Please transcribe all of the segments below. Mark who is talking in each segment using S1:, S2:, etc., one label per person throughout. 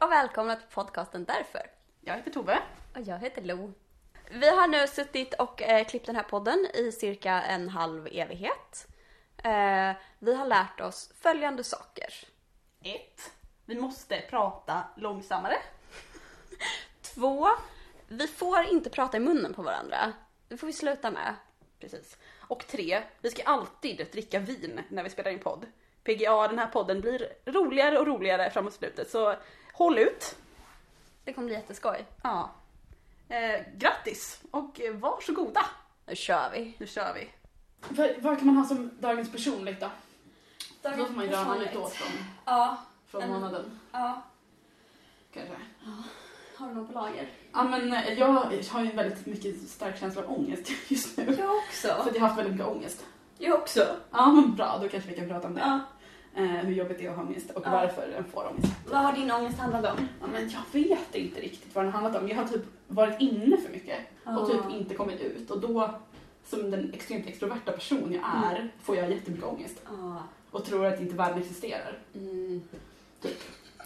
S1: och välkomna till podcasten Därför.
S2: Jag heter Tove.
S1: Och jag heter Lo. Vi har nu suttit och eh, klippt den här podden i cirka en halv evighet. Eh, vi har lärt oss följande saker.
S2: 1. Vi måste prata långsammare.
S1: Två, vi får inte prata i munnen på varandra. Det får vi sluta med.
S2: Precis. Och 3. Vi ska alltid dricka vin när vi spelar in podd. PGA, den här podden blir roligare och roligare framåt slutet så håll ut.
S1: Det kommer bli jätteskoj.
S2: Ja. Eh, grattis och eh, varsågoda.
S1: Nu kör vi.
S2: Nu kör vi.
S3: Vad, vad kan man ha som dagens personligt då? Då får man ju dra något nytt år från,
S1: Ja,
S3: från
S1: Mm.
S3: månaden.
S1: ja.
S3: Kanske.
S1: Har du någon på lager?
S3: Ja, men eh, jag har ju en väldigt mycket stark känsla av ångest just nu.
S1: Jag
S3: För
S1: också.
S3: att jag har haft väldigt mycket ångest.
S1: Jag också.
S3: Ja men bra, då kanske vi kan prata om det.
S1: Ja.
S3: Eh, hur jobbigt det är att ha ångest och
S1: Ja.
S3: varför den får ångest.
S1: Vad har din ångest handlat om?
S3: Ja, men jag vet inte riktigt vad den handlat om. Jag har typ varit inne för mycket och typ inte kommit ut. Och då, som den extremt extroverta person jag
S1: Mm.
S3: är, får jag jättemycket ångest.
S1: Ja.
S3: Och tror att inte världen existerar.
S1: Mm.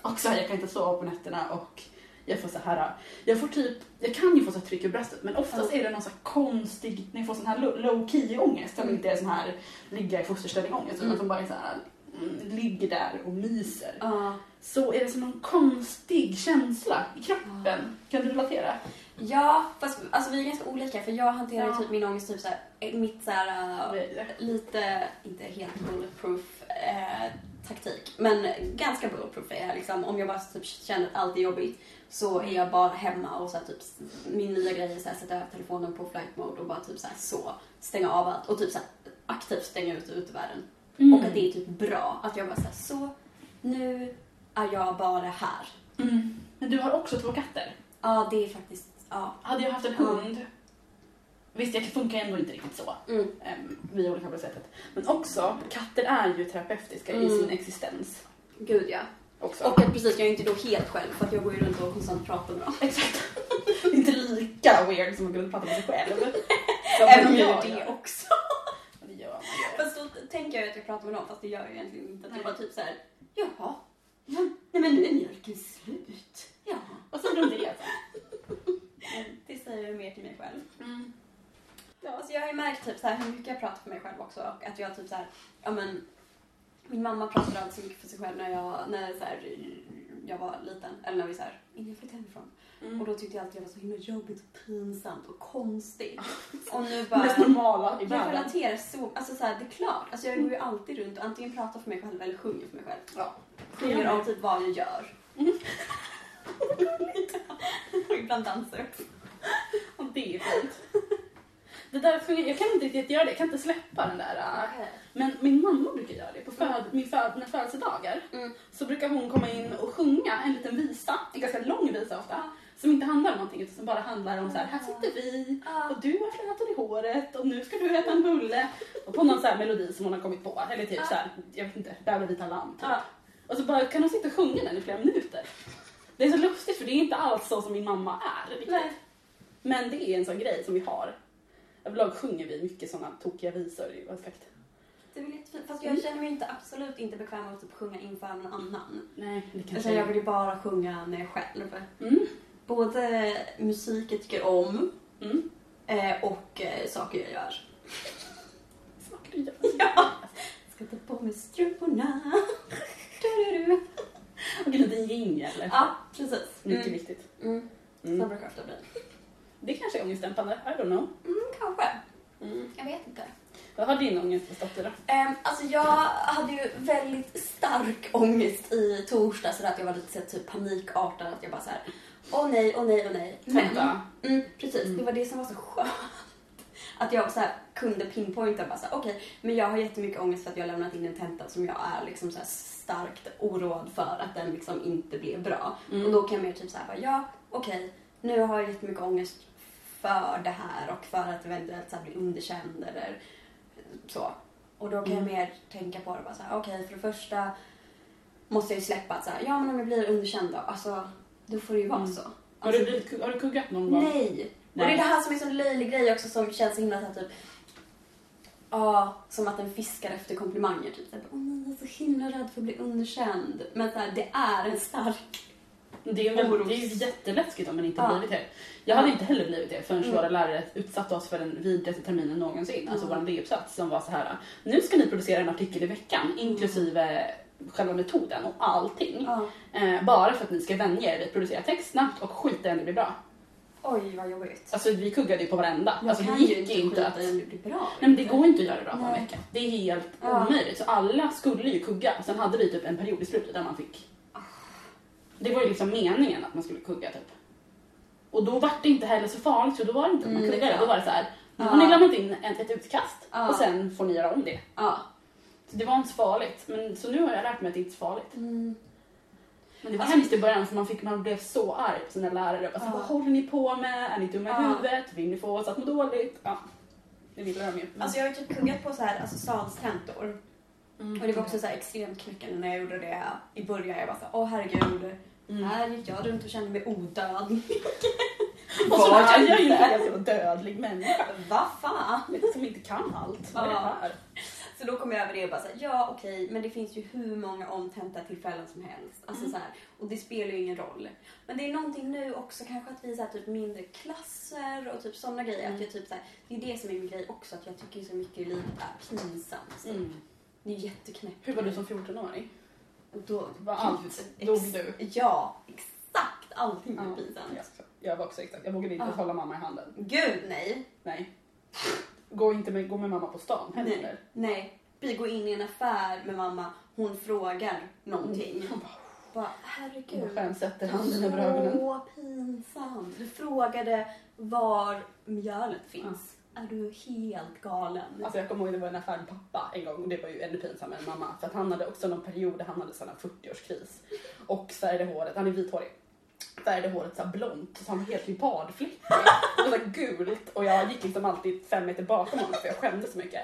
S3: Och så här, jag kan inte sova på nätterna och jag får så här, jag får typ, jag kan ju få så här tryck i bröstet men oftast är det någon så här konstig, när jag får sån här lo- low key ångest som
S1: Mm.
S3: inte är sån här ligga i fosterställning ångest utan
S1: Mm.
S3: som bara är så här mm, ligger där och myser.
S1: Ja.
S3: Så är det som någon konstig känsla i kroppen. Kan du relatera?
S1: Ja, fast alltså, vi är ganska olika för jag hanterar ju
S3: Ja.
S1: typ min ångest typ såhär, mitt såhär eh, lite, inte helt bulletproof eh, taktik, men ganska bulletproof är jag liksom. Om jag bara typ känner att allt är jobbigt så
S3: Mm.
S1: är jag bara hemma och så här, typ min nya grej är så här, sätta över telefonen på flight mode och bara typ så här så, stänga av allt och typ så här aktivt stänga ut utevärlden.
S3: Mm.
S1: Och att det är typ bra att jag bara så här så, nu är jag bara här.
S3: Mm. Men du har också två katter.
S1: Ja, det är faktiskt, ja.
S3: Hade jag haft en hund, visst jag funkar ändå inte riktigt så.
S1: Mm.
S3: Ehm, vi är olika på det sättet. Men också, katter är ju terapeutiska i
S1: Mm.
S3: sin existens.
S1: Gud ja.
S3: Också.
S1: Och att precis, jag är inte då helt själv för att jag går ju runt och konstant pratar med dem.
S3: Exakt. Det är inte lika weird som att kunna prata med sig själv. Som
S1: Även om
S3: jag
S1: jag gör det
S3: gör.
S1: också.
S3: Det gör man ju.
S1: Fast då tänker jag att jag pratar med dem fast det gör jag egentligen inte. Att jag
S3: Nej.
S1: bara typ såhär, jaha, ja, nej men nu är mjölken slut. Ja,
S3: Vad säger du om det?
S1: det säger jag mer till mig själv.
S3: Mm.
S1: Ja, alltså jag har ju märkt typ såhär hur mycket jag pratar för mig själv också och att jag typ såhär, ja men min mamma pratade alltid så mycket för sig själv när jag, när så här, jag var liten. Eller när vi såhär, innan jag flyttade hemifrån.
S3: Mm.
S1: Och då tyckte jag alltid jag var så himla jobbigt och pinsamt och konstig. Och nu
S3: Det mest
S1: bara...
S3: normala i
S1: Jag
S3: världen.
S1: relaterar så, alltså så här, det är klart. Alltså jag går ju alltid runt och antingen pratar för mig själv eller sjunger för mig själv.
S3: Ja. Mm.
S1: Sjunger om typ vad jag gör. Och Ibland dansar också.
S3: Och det är fint. Det där fungerar, jag kan inte riktigt göra det, jag kan inte släppa den där. äh. Men min mamma brukar göra det. På föd, min föd, mina födelsedagar
S1: Mm.
S3: så brukar hon komma in och sjunga en liten visa, en ganska lång visa ofta, som inte handlar om någonting utan som bara handlar om så här, här sitter vi
S1: Ja.
S3: och du har flätor i håret och nu ska du äta en bulle. Och på någon så här melodi som hon har kommit på, eller typ
S1: Ja.
S3: så här, jag vet inte, Bäver vita lamm typ.
S1: Ja.
S3: Och så bara kan hon sitta och sjunga den i flera minuter. Det är så lustigt för det är inte alls så som min mamma är riktigt.
S1: Nej.
S3: Men det är en sån grej som vi har. Överlag sjunger vi mycket såna tokiga visor. Det är ju perfekt.
S1: Det är väl jättefint. Fast
S3: Mm.
S1: jag känner mig inte, absolut inte bekväm med att typ sjunga inför någon annan.
S3: Nej, det
S1: Utan
S3: kanske
S1: jag vill ju bara sjunga när jag är själv.
S3: Mm.
S1: Både musik jag tycker om
S3: Mm.
S1: eh, och eh, saker jag gör.
S3: Saker du gör.
S1: Ja. Ska ta på mig strumporna. Du-du-du.
S3: Och en liten jingel.
S1: Ja, precis.
S3: Mycket viktigt.
S1: Mm.
S3: Mm.
S1: Så brukar det ofta bli.
S3: Det kanske är ångestdämpande. I don't know.
S1: Mm, kanske.
S3: Mm.
S1: Jag vet inte.
S3: Vad har din ångest bestått i då?
S1: Um, alltså jag hade ju väldigt stark ångest i torsdag så att jag var lite så här, typ panikartad. Att jag bara såhär, åh nej, åh nej, åh nej.
S3: Tenta.
S1: mm, precis.
S3: Mm.
S1: Det var det som var så skönt. Att jag så här, kunde pinpointa bara såhär, okej, men jag har jättemycket ångest för att jag har lämnat in en tenta som jag är liksom så här starkt oroad för att den liksom inte blev bra.
S3: Mm.
S1: Och då kan jag mer typ såhär bara, ja okej, nu har jag jättemycket ångest för det här och för att eventuellt så här bli underkänd eller så. Och då kan jag
S3: Mm.
S1: mer tänka på det bara såhär, okej för det första måste jag ju släppa att såhär, ja men om jag blir underkänd då, alltså då får det ju vara
S3: Mm.
S1: så.
S3: Har
S1: Alltså,
S3: du, blivit, ku- har du kuggat någon gång?
S1: Nej! Och det är
S3: Nej.
S1: det här som är en sån löjlig grej också som känns så himla såhär typ Ja, som att en fiskar efter komplimanger. Typ såhär, åh nej, jag är så himla rädd för att bli underkänd. Men såhär, det är en stark
S3: Det är, ju,
S1: Oros.
S3: det är ju jätteläskigt om man inte
S1: Ja.
S3: har blivit det. Jag hade
S1: Ja.
S3: inte heller blivit det förrän
S1: Mm.
S3: våra lärare utsatte oss för den vidrigaste terminen någonsin. Alltså
S1: Mm.
S3: vår D-uppsats som var så här. Nu ska ni producera en artikel i veckan inklusive själva metoden och allting.
S1: Ja.
S3: Eh, bara för att ni ska vänja er vid att producera text snabbt och skita i om det blir bra.
S1: Oj, vad jobbigt.
S3: Alltså vi kuggade ju på varenda.
S1: Jag
S3: alltså, det
S1: kan
S3: gick
S1: ju inte skita i om det blir bra.
S3: Nej men det går inte att göra det bra på
S1: Nej.
S3: en vecka. Det är helt
S1: Ja.
S3: omöjligt. Så alla skulle ju kugga. Sen hade vi typ en period i slutet där man fick... Det var ju liksom meningen att man skulle kugga typ. Och då var det inte heller så farligt för då var det inte att man
S1: Mm,
S3: kuggade.
S1: ja.
S3: Då var det så här. Nu
S1: Ja.
S3: har ni lämnat in ett, ett utkast
S1: Ja.
S3: och sen får ni göra om det.
S1: Ja.
S3: Så det var inte så farligt. Men, så nu har jag lärt mig att det inte är så farligt.
S1: Mm.
S3: Men det var
S1: Alltså-
S3: hemskt i början för man, fick, man blev så arg på sina lärare. Jag Bara, så,
S1: Ja.
S3: Vad håller ni på med? Är ni dumma i
S1: Ja.
S3: huvudet? Vill ni få oss att må dåligt? Ja. Det ville de ju. Men-
S1: Alltså jag har ju typ kuggat på så här, alltså stadstentor.
S3: Mm.
S1: Och det var också så här extremt knäckande när jag gjorde det i början. Jag bara såhär, åh herregud.
S3: Mm.
S1: Här gick jag runt och kände mig odöd.
S3: Och så
S1: Var
S3: lär jag ju
S1: inte.
S3: inte att jag var dödlig människa
S1: Vad fan?
S3: som inte kan allt. Vad är
S1: Ja.
S3: det här?
S1: Så då kom jag över det och bara såhär, ja okej, men det finns ju hur många omtenta tillfällen som helst. Alltså
S3: Mm.
S1: så här, och det spelar ju ingen roll. Men det är någonting nu också kanske att vi är så här, typ mindre klasser och typ sådana grejer.
S3: Mm.
S1: Att jag typ så här, det är det som är min grej också, att jag tycker så mycket i livet är pinsamt. Det är jätteknäppt.
S3: Mm. Hur var du som 14-åring?
S1: Och Då
S3: Var allt?
S1: Ex-
S3: Dog du?
S1: Ja, exakt allting
S3: Ja.
S1: är pinsamt.
S3: Jag också. Jag var också exakt. Jag vågade inte
S1: Ja.
S3: ens hålla mamma i handen.
S1: Gud nej.
S3: Nej. Gå inte med, gå med mamma på stan
S1: nej.
S3: heller.
S1: Nej. Vi går in i en affär med mamma. Hon frågar någonting.
S3: Mm. Hon bara,
S1: Bara,
S3: Gud.
S1: herregud.
S3: Skäm sätter handen över ögonen.
S1: Så pinsamt. Du frågade var mjölet finns. Är du helt galen?
S3: Alltså jag kommer ihåg det var en affär med pappa en gång och det var ju ännu pinsammare än mamma. För att han hade också någon period där han hade sån här 40-årskris. Och färgade håret, han är vithårig. Färgade håret såhär blont, så han var helt leopardfläckig. Det var så här gult och jag gick liksom alltid fem meter bakom honom för jag skämdes så mycket.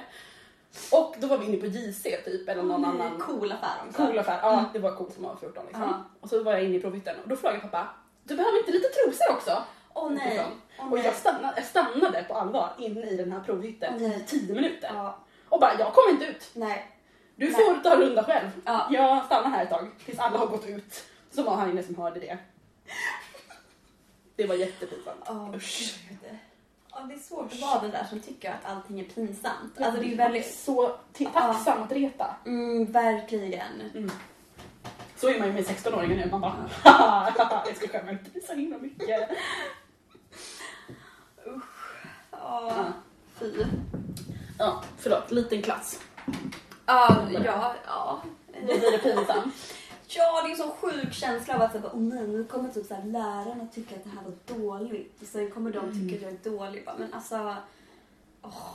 S3: Och då var vi inne på JC typ eller någon annan
S1: Cool affär också.
S3: cool affär. Ja, det var coolt som man var 14 liksom.
S1: Mm. Ja.
S3: Och så var jag inne i provhytten och då frågade pappa, du behöver inte lite trosor också?
S1: Åh nej. Åh,
S3: Och
S1: nej.
S3: jag stannade, jag stannade på allvar inne i den här provhytten
S1: Åh, nej.
S3: i 10 minuter.
S1: Ja,
S3: Och bara, jag kommer inte ut.
S1: nej.
S3: Du
S1: Nej.
S3: får ta en runda själv.
S1: Ja.
S3: Jag stannar här ett tag tills alla har gått ut. Så var han inne som hörde det. Det var jättepinsamt.
S1: Åh,
S3: Usch.
S1: gud. Ja, det är svårt att vara den där som tycker att allting är pinsamt. Alltså det är väldigt...
S3: Så t- tacksam att reta. Mm.
S1: Mm, verkligen.
S3: Så är man ju med 16-åringar nu. Man bara, haha, jag ska skämma ut mig så himla mycket.
S1: Ja, fy.
S3: Ja, förlåt. Liten klass.
S1: Ja, ja, ja.
S3: Då blir det pinsamt.
S1: Ja, det är en sån sjuk känsla av att så bara, åh nej, nu kommer typ så här, lärarna tycka att det här var dåligt. Och sen kommer de tycka att jag är dålig. Bara, Men alltså, åh.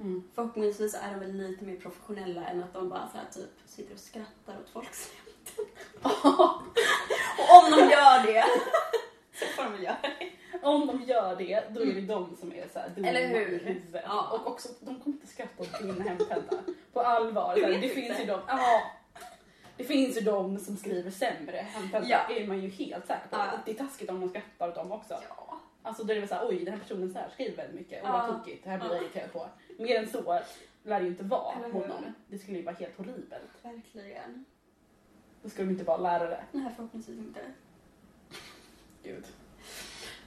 S3: Mm.
S1: Förhoppningsvis är de väl lite mer professionella än att de bara så här, typ sitter och skrattar åt folks skämt. och om de gör det så får de väl göra det.
S3: Om de gör det, då är det de som är så här dumma
S1: Mm. Eller hur?
S3: i huvudet.
S1: Ja.
S3: Och också, de kommer inte skratta åt din hemtenta. På allvar. Så här,
S1: vet
S3: det
S1: inte.
S3: finns ju de, ja. Det finns ju de som skriver sämre hemtenta.
S1: Ja.
S3: är man ju helt säker på.
S1: Ja.
S3: Och det är taskigt om de skrattar åt dem också.
S1: Ja.
S3: Alltså då är det väl såhär, oj den här personen så här skriver väldigt mycket och
S1: Ja.
S3: vad tokigt, det här blir jag
S1: Ja.
S3: irriterad på. Mer än så lär det ju inte vara
S1: Eller
S3: mot
S1: hur?
S3: någon. Det skulle ju vara helt horribelt.
S1: Verkligen.
S3: Då skulle de inte vara lärare.
S1: Nej, förhoppningsvis inte.
S3: Gud.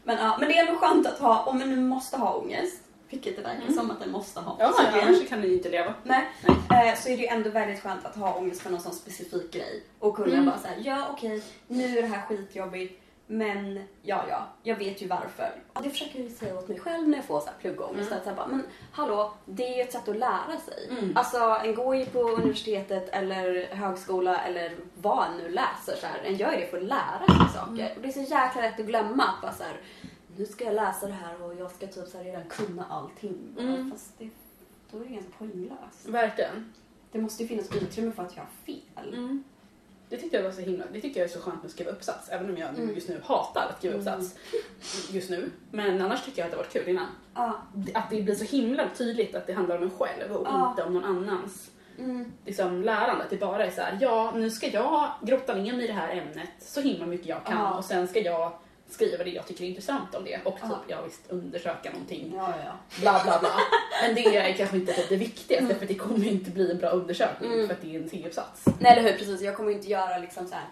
S1: Men, ja, men det är ändå skönt att ha, om man nu måste ha ångest, vilket det verkar som att den måste ha.
S3: Mm. Ja,
S1: tydligen.
S3: annars kan ni ju inte leva.
S1: Nej, eh, så är det ju ändå väldigt skönt att ha ångest för någon sån specifik grej och kunna
S3: Mm.
S1: bara säga ja okej, nu är det här skitjobbigt, men ja, ja, jag vet ju varför. Och jag försöker ju säga åt mig själv när jag får så här pluggångest att så här bara, men hallå, det är ju ett sätt att lära sig.
S3: Mm.
S1: Alltså, en går ju på universitetet eller högskola eller vad en nu läser så här, en gör ju det för att lära
S3: Mm.
S1: sig saker. Och det är så jäkla lätt att glömma att bara så här, nu ska jag läsa det här och jag ska typ så här redan kunna allting.
S3: Mm.
S1: Fast det, då är det ganska poänglöst.
S3: Verkligen.
S1: Det måste ju finnas utrymme för att jag har fel.
S3: Mm. Det tyckte jag var så himla, det tycker jag är så skönt med att skriva uppsats, även om jag nu
S1: Mm.
S3: just nu hatar att skriva uppsats. Just nu. Men annars tycker jag att det har varit kul innan.
S1: Ja.
S3: Att det blir så himla tydligt att det handlar om en själv och
S1: Ja.
S3: inte om någon annans
S1: Mm.
S3: liksom, lärande. Att det bara är så här, ja nu ska jag grotta ner mig i det här ämnet så himla mycket jag kan
S1: Ja.
S3: och sen ska jag skriva det jag tycker är intressant om det och typ,
S1: Ja.
S3: jag visst undersöka någonting
S1: Ja, ja.
S3: bla bla bla. Men det är kanske inte typ det viktigaste för det kommer inte bli en bra undersökning
S1: Mm.
S3: för att det är en T-uppsats.
S1: Nej, eller hur? Precis. Jag kommer ju inte göra liksom så här.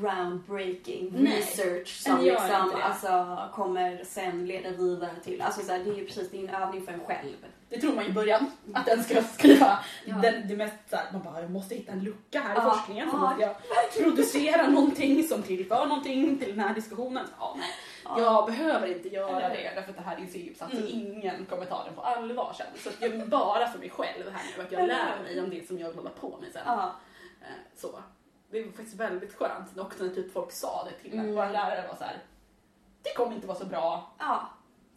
S1: groundbreaking
S3: Nej.
S1: research som
S3: Eller gör
S1: liksom,
S3: inte det.
S1: alltså, kommer sen leda vidare till... Alltså, så här, det är ju precis din övning för en själv.
S3: Det tror man i början, att den ska skriva
S1: Ja.
S3: den, det mest såhär, man bara jag måste hitta en lucka här i
S1: Ja.
S3: forskningen så
S1: Ja.
S3: måste jag producera någonting som tillför någonting till den här diskussionen. Så, Ja, nej,
S1: Ja.
S3: Jag behöver inte göra
S1: Eller
S3: det därför att det här är en C-uppsats
S1: Mm.
S3: och ingen kommer ta den på allvar sen. Så att jag är bara för mig själv här nu, att jag
S1: Eller
S3: lär
S1: hur?
S3: mig om det som jag vill hålla på med sen.
S1: Ja.
S3: Eh, Så. Det var faktiskt väldigt skönt också när typ folk sa det till
S1: Mm.
S3: en. Vår lärare var så här. det kommer inte vara så bra,
S1: ja.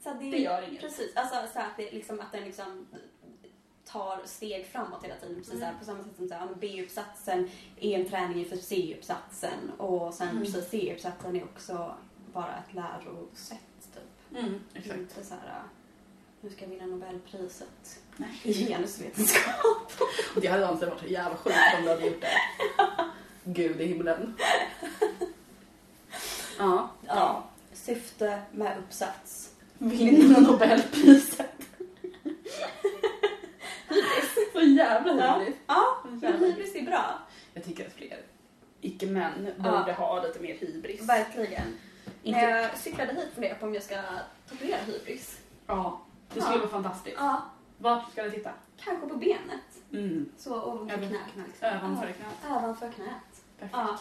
S1: Så det,
S3: det gör inget.
S1: Precis, alltså så att, det, liksom, att den liksom tar steg framåt hela tiden. Precis
S3: Mm.
S1: så här, på samma sätt som så här, ja, men B-uppsatsen är en träning inför C-uppsatsen och sen
S3: Mm.
S1: precis C-uppsatsen är också bara ett lärosätt typ.
S3: Mm, exakt.
S1: Inte så här, äh, nu ska jag vinna Nobelpriset
S3: Nej.
S1: i genusvetenskap.
S3: Och det hade antagligen varit så jävla sjukt om du hade gjort det. Gud i himlen. Ja.
S1: Ja. Syfte med uppsats.
S3: Vinna Nobelpriset. Så jävla
S1: Ja,
S3: hybris.
S1: ja
S3: Så
S1: men
S3: jävla
S1: hybris är bra.
S3: Jag tycker att fler icke-män
S1: Ja.
S3: borde ha lite mer hybris.
S1: Verkligen.
S3: Inte-
S1: När jag cyklade hit funderade jag på om jag ska tatuera hybris.
S3: Ja. Det skulle vara fantastiskt.
S1: Ja,
S3: Vart ska du titta?
S1: kanske på benet.
S3: Mm.
S1: Så ovanför knät.
S3: Ovanför knät.
S1: liksom. Ja, Ovanför knät.
S3: Perfekt.
S1: Ja.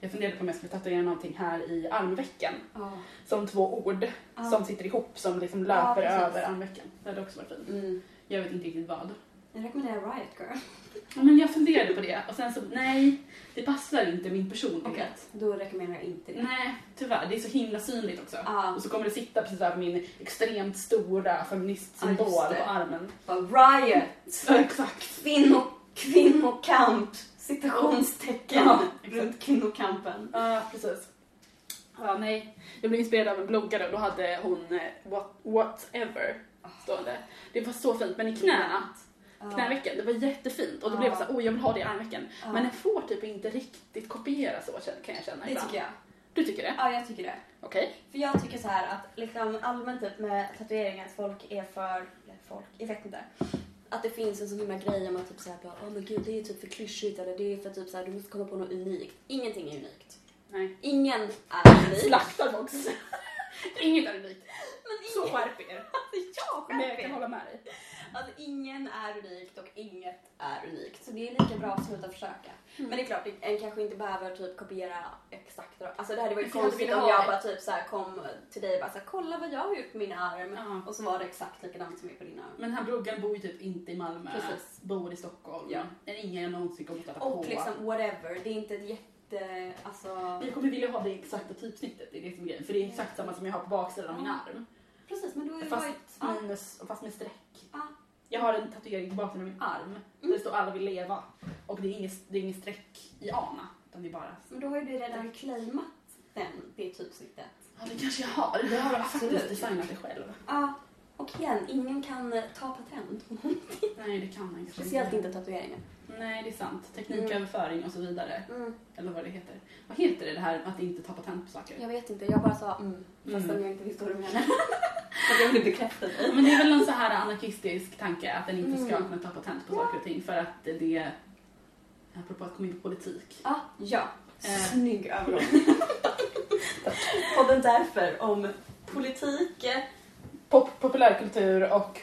S3: Jag funderade på om jag skulle tatuera någonting här i armvecken.
S1: Ja.
S3: Som två ord
S1: Ja.
S3: som sitter ihop som
S1: Ja,
S3: liksom löper
S1: precis.
S3: över armvecken. Det hade också varit fint.
S1: Mm.
S3: Jag vet inte riktigt vad.
S1: Jag rekommenderar Riot Girl.
S3: Ja, men jag funderade på det och sen så, nej, det passar inte min personlighet.
S1: Då rekommenderar jag inte det.
S3: Nej, tyvärr. Det är så himla synligt också.
S1: Ja.
S3: Och så kommer det sitta precis över min extremt stora feministsymbol
S1: Ja, just det.
S3: på armen.
S1: Bara Riot!
S3: Ja, exakt.
S1: Kvinno, kvinnokamp! Citationstecken
S3: Ja, exakt.
S1: runt kvinnokampen.
S3: Ja, precis. Ja, nej. Jag blev inspirerad av en bloggare och då hade hon eh, what, whatever stående. Det var så fint, men i knäna,
S1: Ja.
S3: knävecken, det var jättefint. Och då
S1: Ja.
S3: blev jag såhär, oh jag vill ha det i armvecken.
S1: Ja.
S3: Men den får typ inte riktigt kopiera så kan jag känna
S1: Det tycker jag.
S3: Du tycker det?
S1: Ja, jag tycker det.
S3: Okej.
S1: För jag tycker så här att liksom allmänt typ med tatueringar att folk är för... eller Folk, jag vet inte. Att det finns en sån himla grej om att typ säga bara åh men gud det är typ för klyschigt eller det är för typ så här du måste komma på något unikt. Ingenting är unikt.
S3: Nej.
S1: Ingen är unik.
S3: Slaktar folk. Inget är unikt.
S1: Men
S3: Så
S1: ingen,
S3: skärp er.
S1: alltså jag
S3: Men jag
S1: själv
S3: kan
S1: är.
S3: hålla med dig.
S1: Alltså ingen är unikt och inget är unikt. Så det är lika bra att sluta försöka.
S3: Mm.
S1: Men det är klart, en kanske inte behöver typ kopiera exakt. Alltså det hade varit
S3: Men jag
S1: konstigt
S3: vill
S1: om
S3: ha
S1: jag
S3: det.
S1: bara typ så här kom till dig och bara så här, kolla vad jag har gjort på min arm.
S3: Ja.
S1: Och så var det exakt likadant som är på din arm.
S3: Men den här bloggaren bor ju typ inte i Malmö.
S1: Precis.
S3: Bor i Stockholm.
S1: Ja.
S3: Det är ingen jag någonsin kommer att träffa på.
S1: Och liksom whatever, det är inte ett jätte... Alltså...
S3: Jag kommer vilja ha det exakta typsnittet, det är det som är grejen. För det är exakt samma som jag har på baksidan av min arm.
S1: Precis, men då är det bara ett...
S3: Fast,
S1: Ja.
S3: minus, fast med streck.
S1: Ja. Mm.
S3: Jag har en tatuering på baksidan av min arm. Där det står alla vill leva. Och det är inget, det är inget streck i ana. Utan det är bara...
S1: Men då har ju du redan claimat den, det typsnittet.
S3: Ja, det kanske jag har. Jag har
S1: Absolut.
S3: faktiskt designat det själv.
S1: Ja. Och igen, ingen kan eh, ta patent.
S3: Nej, det kan jag inte. Mm.
S1: Speciellt inte tatueringen.
S3: Nej, det är sant. Tekniköverföring och så vidare.
S1: Mm.
S3: Eller vad det heter. Vad heter det, det här att inte ta patent på saker?
S1: Jag vet inte, jag bara sa mm, fastän
S3: Mm.
S1: jag inte visste vad du menade. För att jag ville bekräfta dig.
S3: Men det är väl någon så här anarkistisk tanke att den inte ska
S1: Mm.
S3: kunna ta patent på saker och ting för att det, apropå att komma in på politik.
S1: Ah, ja,
S3: Eh.
S1: snygg övergång. Podden därför om politik.
S3: Pop, populärkultur och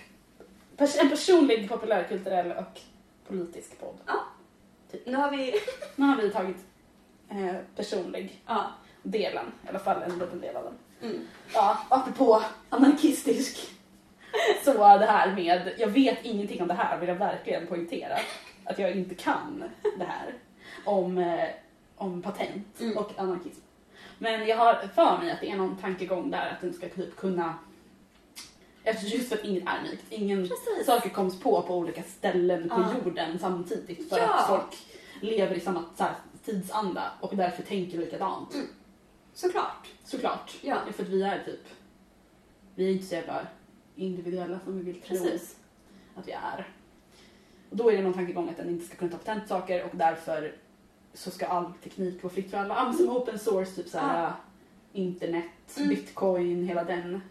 S3: pers- en personlig populärkulturell och politisk podd.
S1: Nu har vi...
S3: Nu har vi tagit eh, personlig
S1: Ja.
S3: delen, i alla fall en liten del av den.
S1: Mm.
S3: Ja, apropå anarkistisk. Så det här med, jag vet ingenting om det här vill jag verkligen poängtera. Att jag inte kan det här. Om, eh, om patent
S1: Mm.
S3: och anarkism. Men jag har för mig att det är någon tankegång där att den ska typ kunna Eftersom just för att inget är unikt. Ingen
S1: Precis.
S3: saker koms på på olika ställen på
S1: Ja.
S3: jorden samtidigt för
S1: Ja.
S3: att folk lever i samma så här, tidsanda och därför tänker likadant.
S1: Såklart.
S3: Såklart.
S1: Ja.
S3: För att vi är typ, vi är inte så jävla individuella som vi vill tro
S1: Precis.
S3: att vi är. Och då är det någon tankegång att den inte ska kunna ta patent på saker och därför så ska all teknik vara fritt för alla. Ja, men som open source, typ såhär
S1: Ja.
S3: internet,
S1: Mm.
S3: bitcoin, hela den.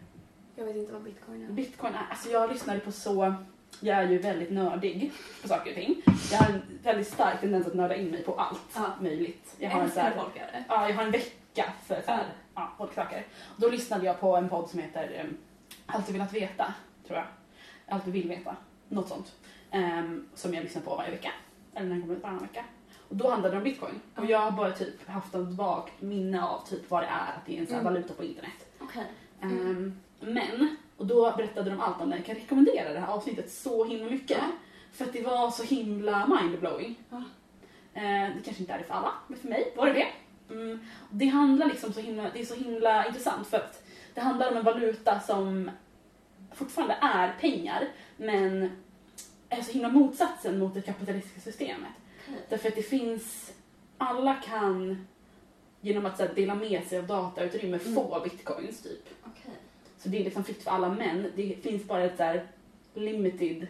S1: Jag vet inte vad bitcoin är.
S3: Bitcoin är, alltså jag lyssnade på så, Jag är ju väldigt nördig på saker och ting. Jag har en väldigt stark tendens att nörda in mig på allt
S1: Ja.
S3: möjligt. Jag
S1: Jag
S3: har en så
S1: älskar
S3: här,
S1: folk gör det.
S3: Ja, jag har en vecka för så här,
S1: Mm.
S3: ja, olika saker. Då lyssnade jag på en podd som heter um, Allt du velat veta, tror jag. Allt du vill veta, något sånt. Ehm, som jag lyssnar på varje vecka. Eller när den kommer ut varannan vecka. Och då handlade det om bitcoin. Och jag har bara typ haft ett vagt minne av typ vad det är att det är en sån här
S1: Mm.
S3: valuta på internet.
S1: Okej. Mm.
S3: Ehm, Men, och då berättade de allt om det. Jag kan rekommendera det här avsnittet så himla mycket.
S1: Ja.
S3: För att det var så himla mindblowing.
S1: Ja.
S3: Eh, det kanske inte är det för alla, men för mig var det det. Mm. Det handlar liksom så himla, det är så himla intressant för att det handlar om en valuta som fortfarande är pengar, men är så himla motsatsen mot det kapitalistiska systemet.
S1: Okej.
S3: Därför att det finns, alla kan genom att så här, dela med sig av datautrymme
S1: Mm.
S3: få bitcoins typ.
S1: Okej.
S3: Så det är liksom fritt för alla män. Det finns bara ett så här limited,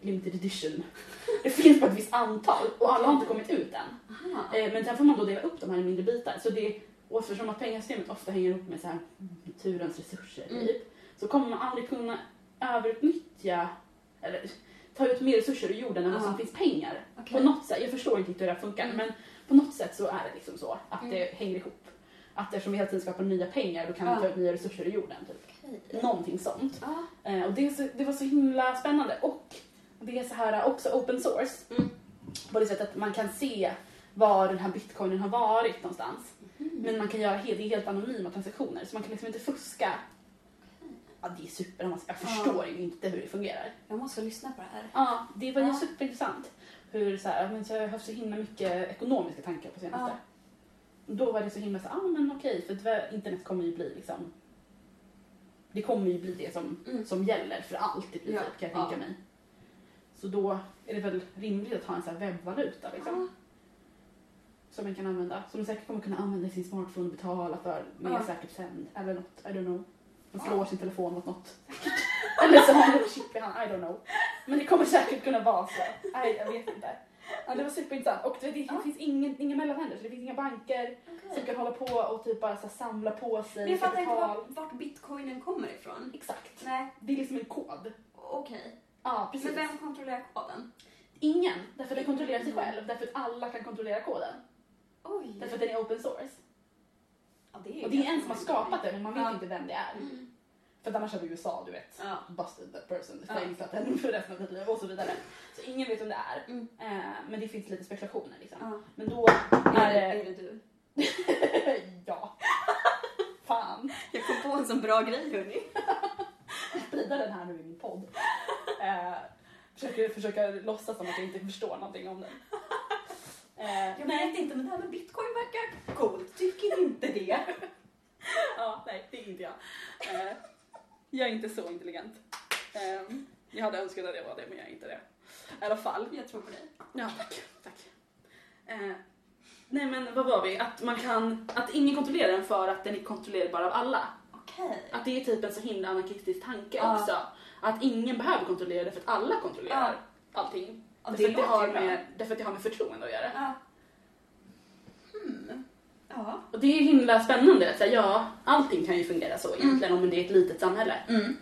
S3: limited edition. Det finns bara ett visst antal och alla har inte kommit ut än.
S1: Aha.
S3: Eh, Men sen får man då dela upp de här i mindre bitar. Så det, och eftersom att pengasystemet ofta hänger ihop med så här naturens resurser
S1: Mm.
S3: typ, så kommer man aldrig kunna överutnyttja eller ta ut mer resurser ur jorden än vad
S1: Ja.
S3: som finns pengar.
S1: Okej.
S3: På något sätt, jag förstår inte riktigt hur det här funkar
S1: Mm.
S3: men på något sätt så är det liksom så att
S1: Mm.
S3: det hänger ihop. Att eftersom vi hela tiden skapar nya pengar då kan
S1: Ja.
S3: vi ta ut nya resurser ur jorden. Typ.
S1: Okej. Ah,
S3: Någonting sånt.
S1: Ja.
S3: Eh, och det, är så, det var så himla spännande och det är så här eh, också open source
S1: Mm.
S3: på det sättet att man kan se var den här bitcoinen har varit någonstans.
S1: mhm.
S3: Men man kan göra helt, det är helt anonyma transaktioner så man kan liksom inte fuska. Ja, det är superavancerat. Jag
S1: Ja.
S3: förstår ju inte hur det fungerar.
S1: Jag måste lyssna på det här.
S3: Ja, det var ju
S1: Ja.
S3: superintressant. Hur så här, men så jag har haft så himla mycket ekonomiska tankar på senaste.
S1: Ja.
S3: Då var det så himla så ah, men okej, för det var- internet kommer ju bli liksom det kommer ju bli det som,
S1: Mm.
S3: som gäller för allt i princip
S1: Ja.
S3: kan jag tänka
S1: Ja.
S3: mig. Så då är det väl rimligt att ha en sån här webbvaluta liksom,
S1: Ja.
S3: som man kan använda. Som man säkert kommer kunna använda i sin smartphone och betala för mer
S1: Ja.
S3: säkert sen eller något, I don't know. Man
S1: Ja.
S3: slår sin telefon mot något. eller så har man ett chip i handen, I don't know. Men det kommer säkert kunna vara så. Nej, jag vet inte. Ja, det var superintressant. Och det, det
S1: Ja.
S3: finns ingen, inga mellanhänder, så det finns inga banker som
S1: Ah, Okej.
S3: kan hålla på och typ bara så här samla på sig
S1: Men jag fattar inte
S3: kapital.
S1: vart, vart bitcoinen kommer ifrån.
S3: Exakt.
S1: Nej,
S3: Det är liksom en kod.
S1: okej.
S3: Ja, precis.
S1: Men vem kontrollerar koden?
S3: Ingen, därför att den kontrollerar sig
S1: Mm.
S3: själv. Därför att alla kan kontrollera koden.
S1: Oj.
S3: Därför att den är open source.
S1: Ja, det
S3: Och det är en som har skapat
S1: det.
S3: det, men man vet
S1: Ja.
S3: inte vem det är.
S1: Mm.
S3: För att annars har vi USA, du vet.
S1: Ja.
S3: Busted that person,
S1: Ja.
S3: fängslat den för resten av sitt liv och så vidare. Så ingen vet vem det är.
S1: Mm.
S3: Eh, men det finns lite spekulationer liksom.
S1: Ja.
S3: Men då är
S1: Är
S3: det...
S1: det du?
S3: ja. Fan.
S1: Jag kom på en sån bra grej hörni.
S3: Sprida den här nu i min podd. Eh, försöker, försöker låtsas som att jag inte förstår någonting om den. Eh,
S1: Jag
S3: nej.
S1: vet inte men det här med bitcoin verkar coolt. Tycker inte det.
S3: Ja, nej, det är inte jag. Eh, jag är inte så intelligent. Eh, jag hade önskat att jag var det, men jag är inte det. I alla fall.
S1: Jag tror på dig.
S3: Ja, tack. tack. Eh, nej, men vad var vi? Att man kan... Att ingen kontrollerar den för att den är kontrollerbar av alla.
S1: Okej.
S3: Att det är typ en så himla anarkistisk tanke
S1: Ja.
S3: också. Att ingen behöver kontrollera det för att alla kontrollerar allting.
S1: Ja,
S3: därför, att det
S1: låter
S3: har
S1: ju bra.
S3: med, därför att det har med förtroende att göra.
S1: Ja. Hmm. Ja.
S3: Och det är himla spännande. Att säga, ja, allting kan ju fungera så egentligen om det är ett litet samhälle.
S1: Mm.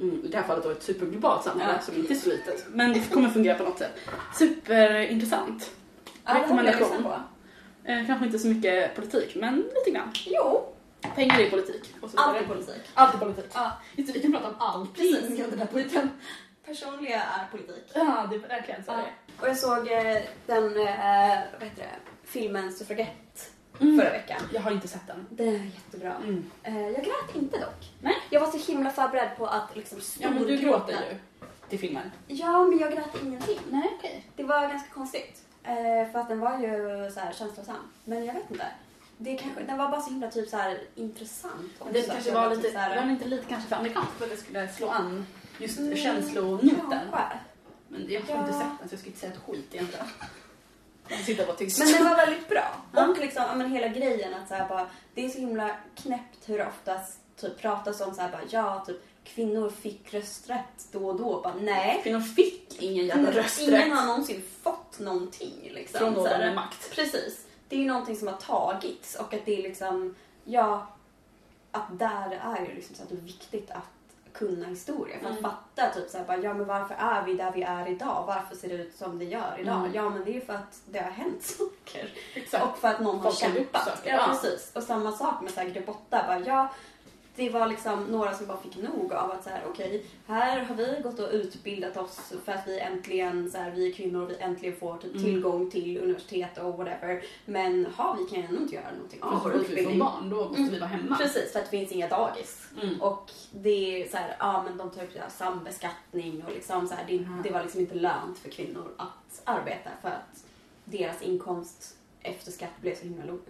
S3: Mm, I det här fallet då ett superglobalt samhälle
S1: Ja.
S3: som inte är så litet. Men det kommer fungera på något sätt. Superintressant. Rekommendation.
S1: lyssna på.
S3: Eh, kanske inte så mycket politik, men lite grann.
S1: Jo,
S3: Pengar är politik. Och så vidare.
S1: allt är politik.
S3: Allt är politik.
S1: Ja,
S3: Just det, vi kan prata om Mm. allting
S1: Precis.
S3: under den här podden.
S1: personliga är politik.
S3: Ja, det är verkligen så
S1: Ja.
S3: det
S1: Och jag såg eh, den, eh, vad heter det, filmen Suffragette
S3: är. Mm.
S1: förra veckan.
S3: Jag har inte sett den.
S1: Den är jättebra.
S3: Mm.
S1: Eh, jag grät inte dock.
S3: Nej.
S1: Jag var så himla förberedd på att liksom
S3: Ja, men du
S1: storgråta.
S3: gråter ju till filmen.
S1: Ja, men jag grät ingenting.
S3: Nej, okej.
S1: Det var ganska konstigt. Eh, för att den var ju så här känslosam. Men jag vet inte. Det kanske, den var bara så himla typ så här intressant. också.
S3: Det kanske
S1: Jag
S3: var
S1: typ
S3: lite,
S1: så här-
S3: var den inte lite kanske för amerikansk för att det skulle slå an just
S1: Mm.
S3: känslonoten.
S1: Kanske.
S3: Men jag har inte
S1: Ja.
S3: sett den så jag ska inte säga ett skit egentligen. Jag sitter och vara tyst.
S1: Men den var väldigt bra.
S3: Ja.
S1: Och liksom, ja, men hela grejen att så här bara, det är så himla knäppt hur det oftast typ pratas om så här bara, ja, typ kvinnor fick rösträtt då och då. Bara, nej. Mm,
S3: Kvinnor fick ingen jävla
S1: Ingen
S3: rösträtt
S1: har någonsin fått någonting. Liksom,
S3: från någon
S1: Så här.
S3: med makt.
S1: Precis. Det är ju någonting som har tagits och att det är liksom, ja, att där är ju liksom så att det är viktigt att kunna historia. För att
S3: Mm.
S1: fatta typ så här, bara, ja men varför är vi där vi är idag? Varför ser det ut som det gör idag?
S3: Mm.
S1: Ja men det är för att det har hänt saker.
S3: Exakt.
S1: Och för att någon har
S3: Folk har
S1: kämpat.
S3: uppsökt det,
S1: Ja,
S3: ja.
S1: precis. Och samma sak med så här, Grebotta. Bara, ja, det var liksom några som bara fick nog av att så här, okej, här har vi gått och utbildat oss för att vi äntligen, så här, vi är kvinnor, vi äntligen får typ
S3: Mm.
S1: tillgång till universitet och whatever. Men ha, vi kan ju ändå inte göra någonting
S3: Ja,
S1: av vår
S3: för att vi får
S1: utbildning. Mm,
S3: barn, då måste vi vara hemma.
S1: Precis, för att det finns inga dagis.
S3: Mm.
S1: Och det är så här, ja men de tar upp det här sambeskattning och liksom så här, det,
S3: Mm.
S1: det var liksom inte lönt för kvinnor att arbeta för att deras inkomst efter skatt blev så himla låg.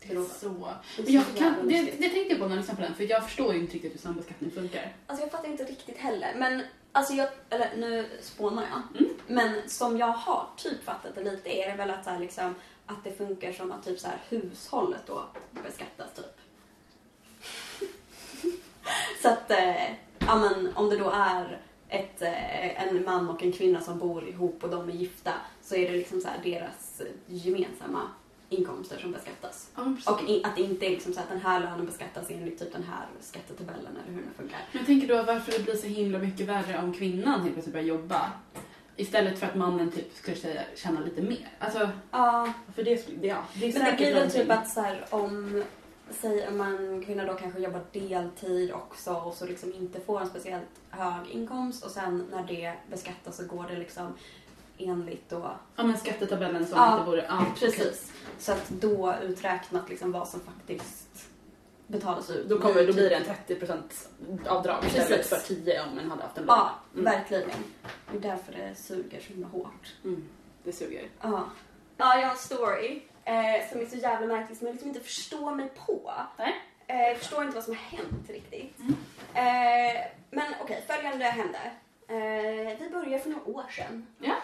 S3: Det är så.
S1: Det är
S3: Men jag
S1: så jävla
S3: kan, det,
S1: lustigt.
S3: det tänkte jag på när jag lyssnade på den, för jag förstår ju inte riktigt hur sambeskattning funkar.
S1: Alltså jag fattar inte riktigt heller. Men alltså jag, eller nu spånar jag.
S3: Mm.
S1: Men som jag har typ fattat det lite är det väl att, så här, liksom, att det funkar som att typ så här, hushållet då beskattas typ. så att, eh, ja men om det då är ett, eh, en man och en kvinna som bor ihop och de är gifta så är det liksom så här deras gemensamma inkomster som beskattas.
S3: Ja, men precis.
S1: Och i, att det inte är liksom så att den här lönen beskattas enligt typ den här skattetabellen eller hur det funkar.
S3: Men jag tänker då varför det blir så himla mycket värre om kvinnan helt plötsligt börjar jobba istället för att mannen typ skulle säga, tjäna lite mer. Alltså,
S1: Ja,
S3: för det skulle, ja. Det är
S1: men det
S3: säkert
S1: blir väl
S3: någonting.
S1: typ att så här, om säg om en kvinna då kanske jobbar deltid också och så liksom inte får en speciellt hög inkomst och sen när det beskattas så går det liksom enligt då
S3: Ja men skattetabellen som
S1: Ja,
S3: inte borde... Ja,
S1: precis så att då uträknat liksom vad som faktiskt betalas ut.
S3: Då, kommer, då blir det typ- en 30% avdrag istället
S1: Precis.
S3: för 10 om man hade haft en lön.
S1: Ja,
S3: Mm.
S1: verkligen. Det är därför det suger så himla hårt.
S3: Mm, det suger.
S1: Ja. Ja, jag har en story eh, som är så jävla märklig som jag liksom inte förstår mig på.
S3: Nej.
S1: Eh, jag förstår inte vad som har hänt riktigt.
S3: Mm.
S1: Eh, men okej, följande hände. Eh, vi började för några år sedan.
S3: Ja.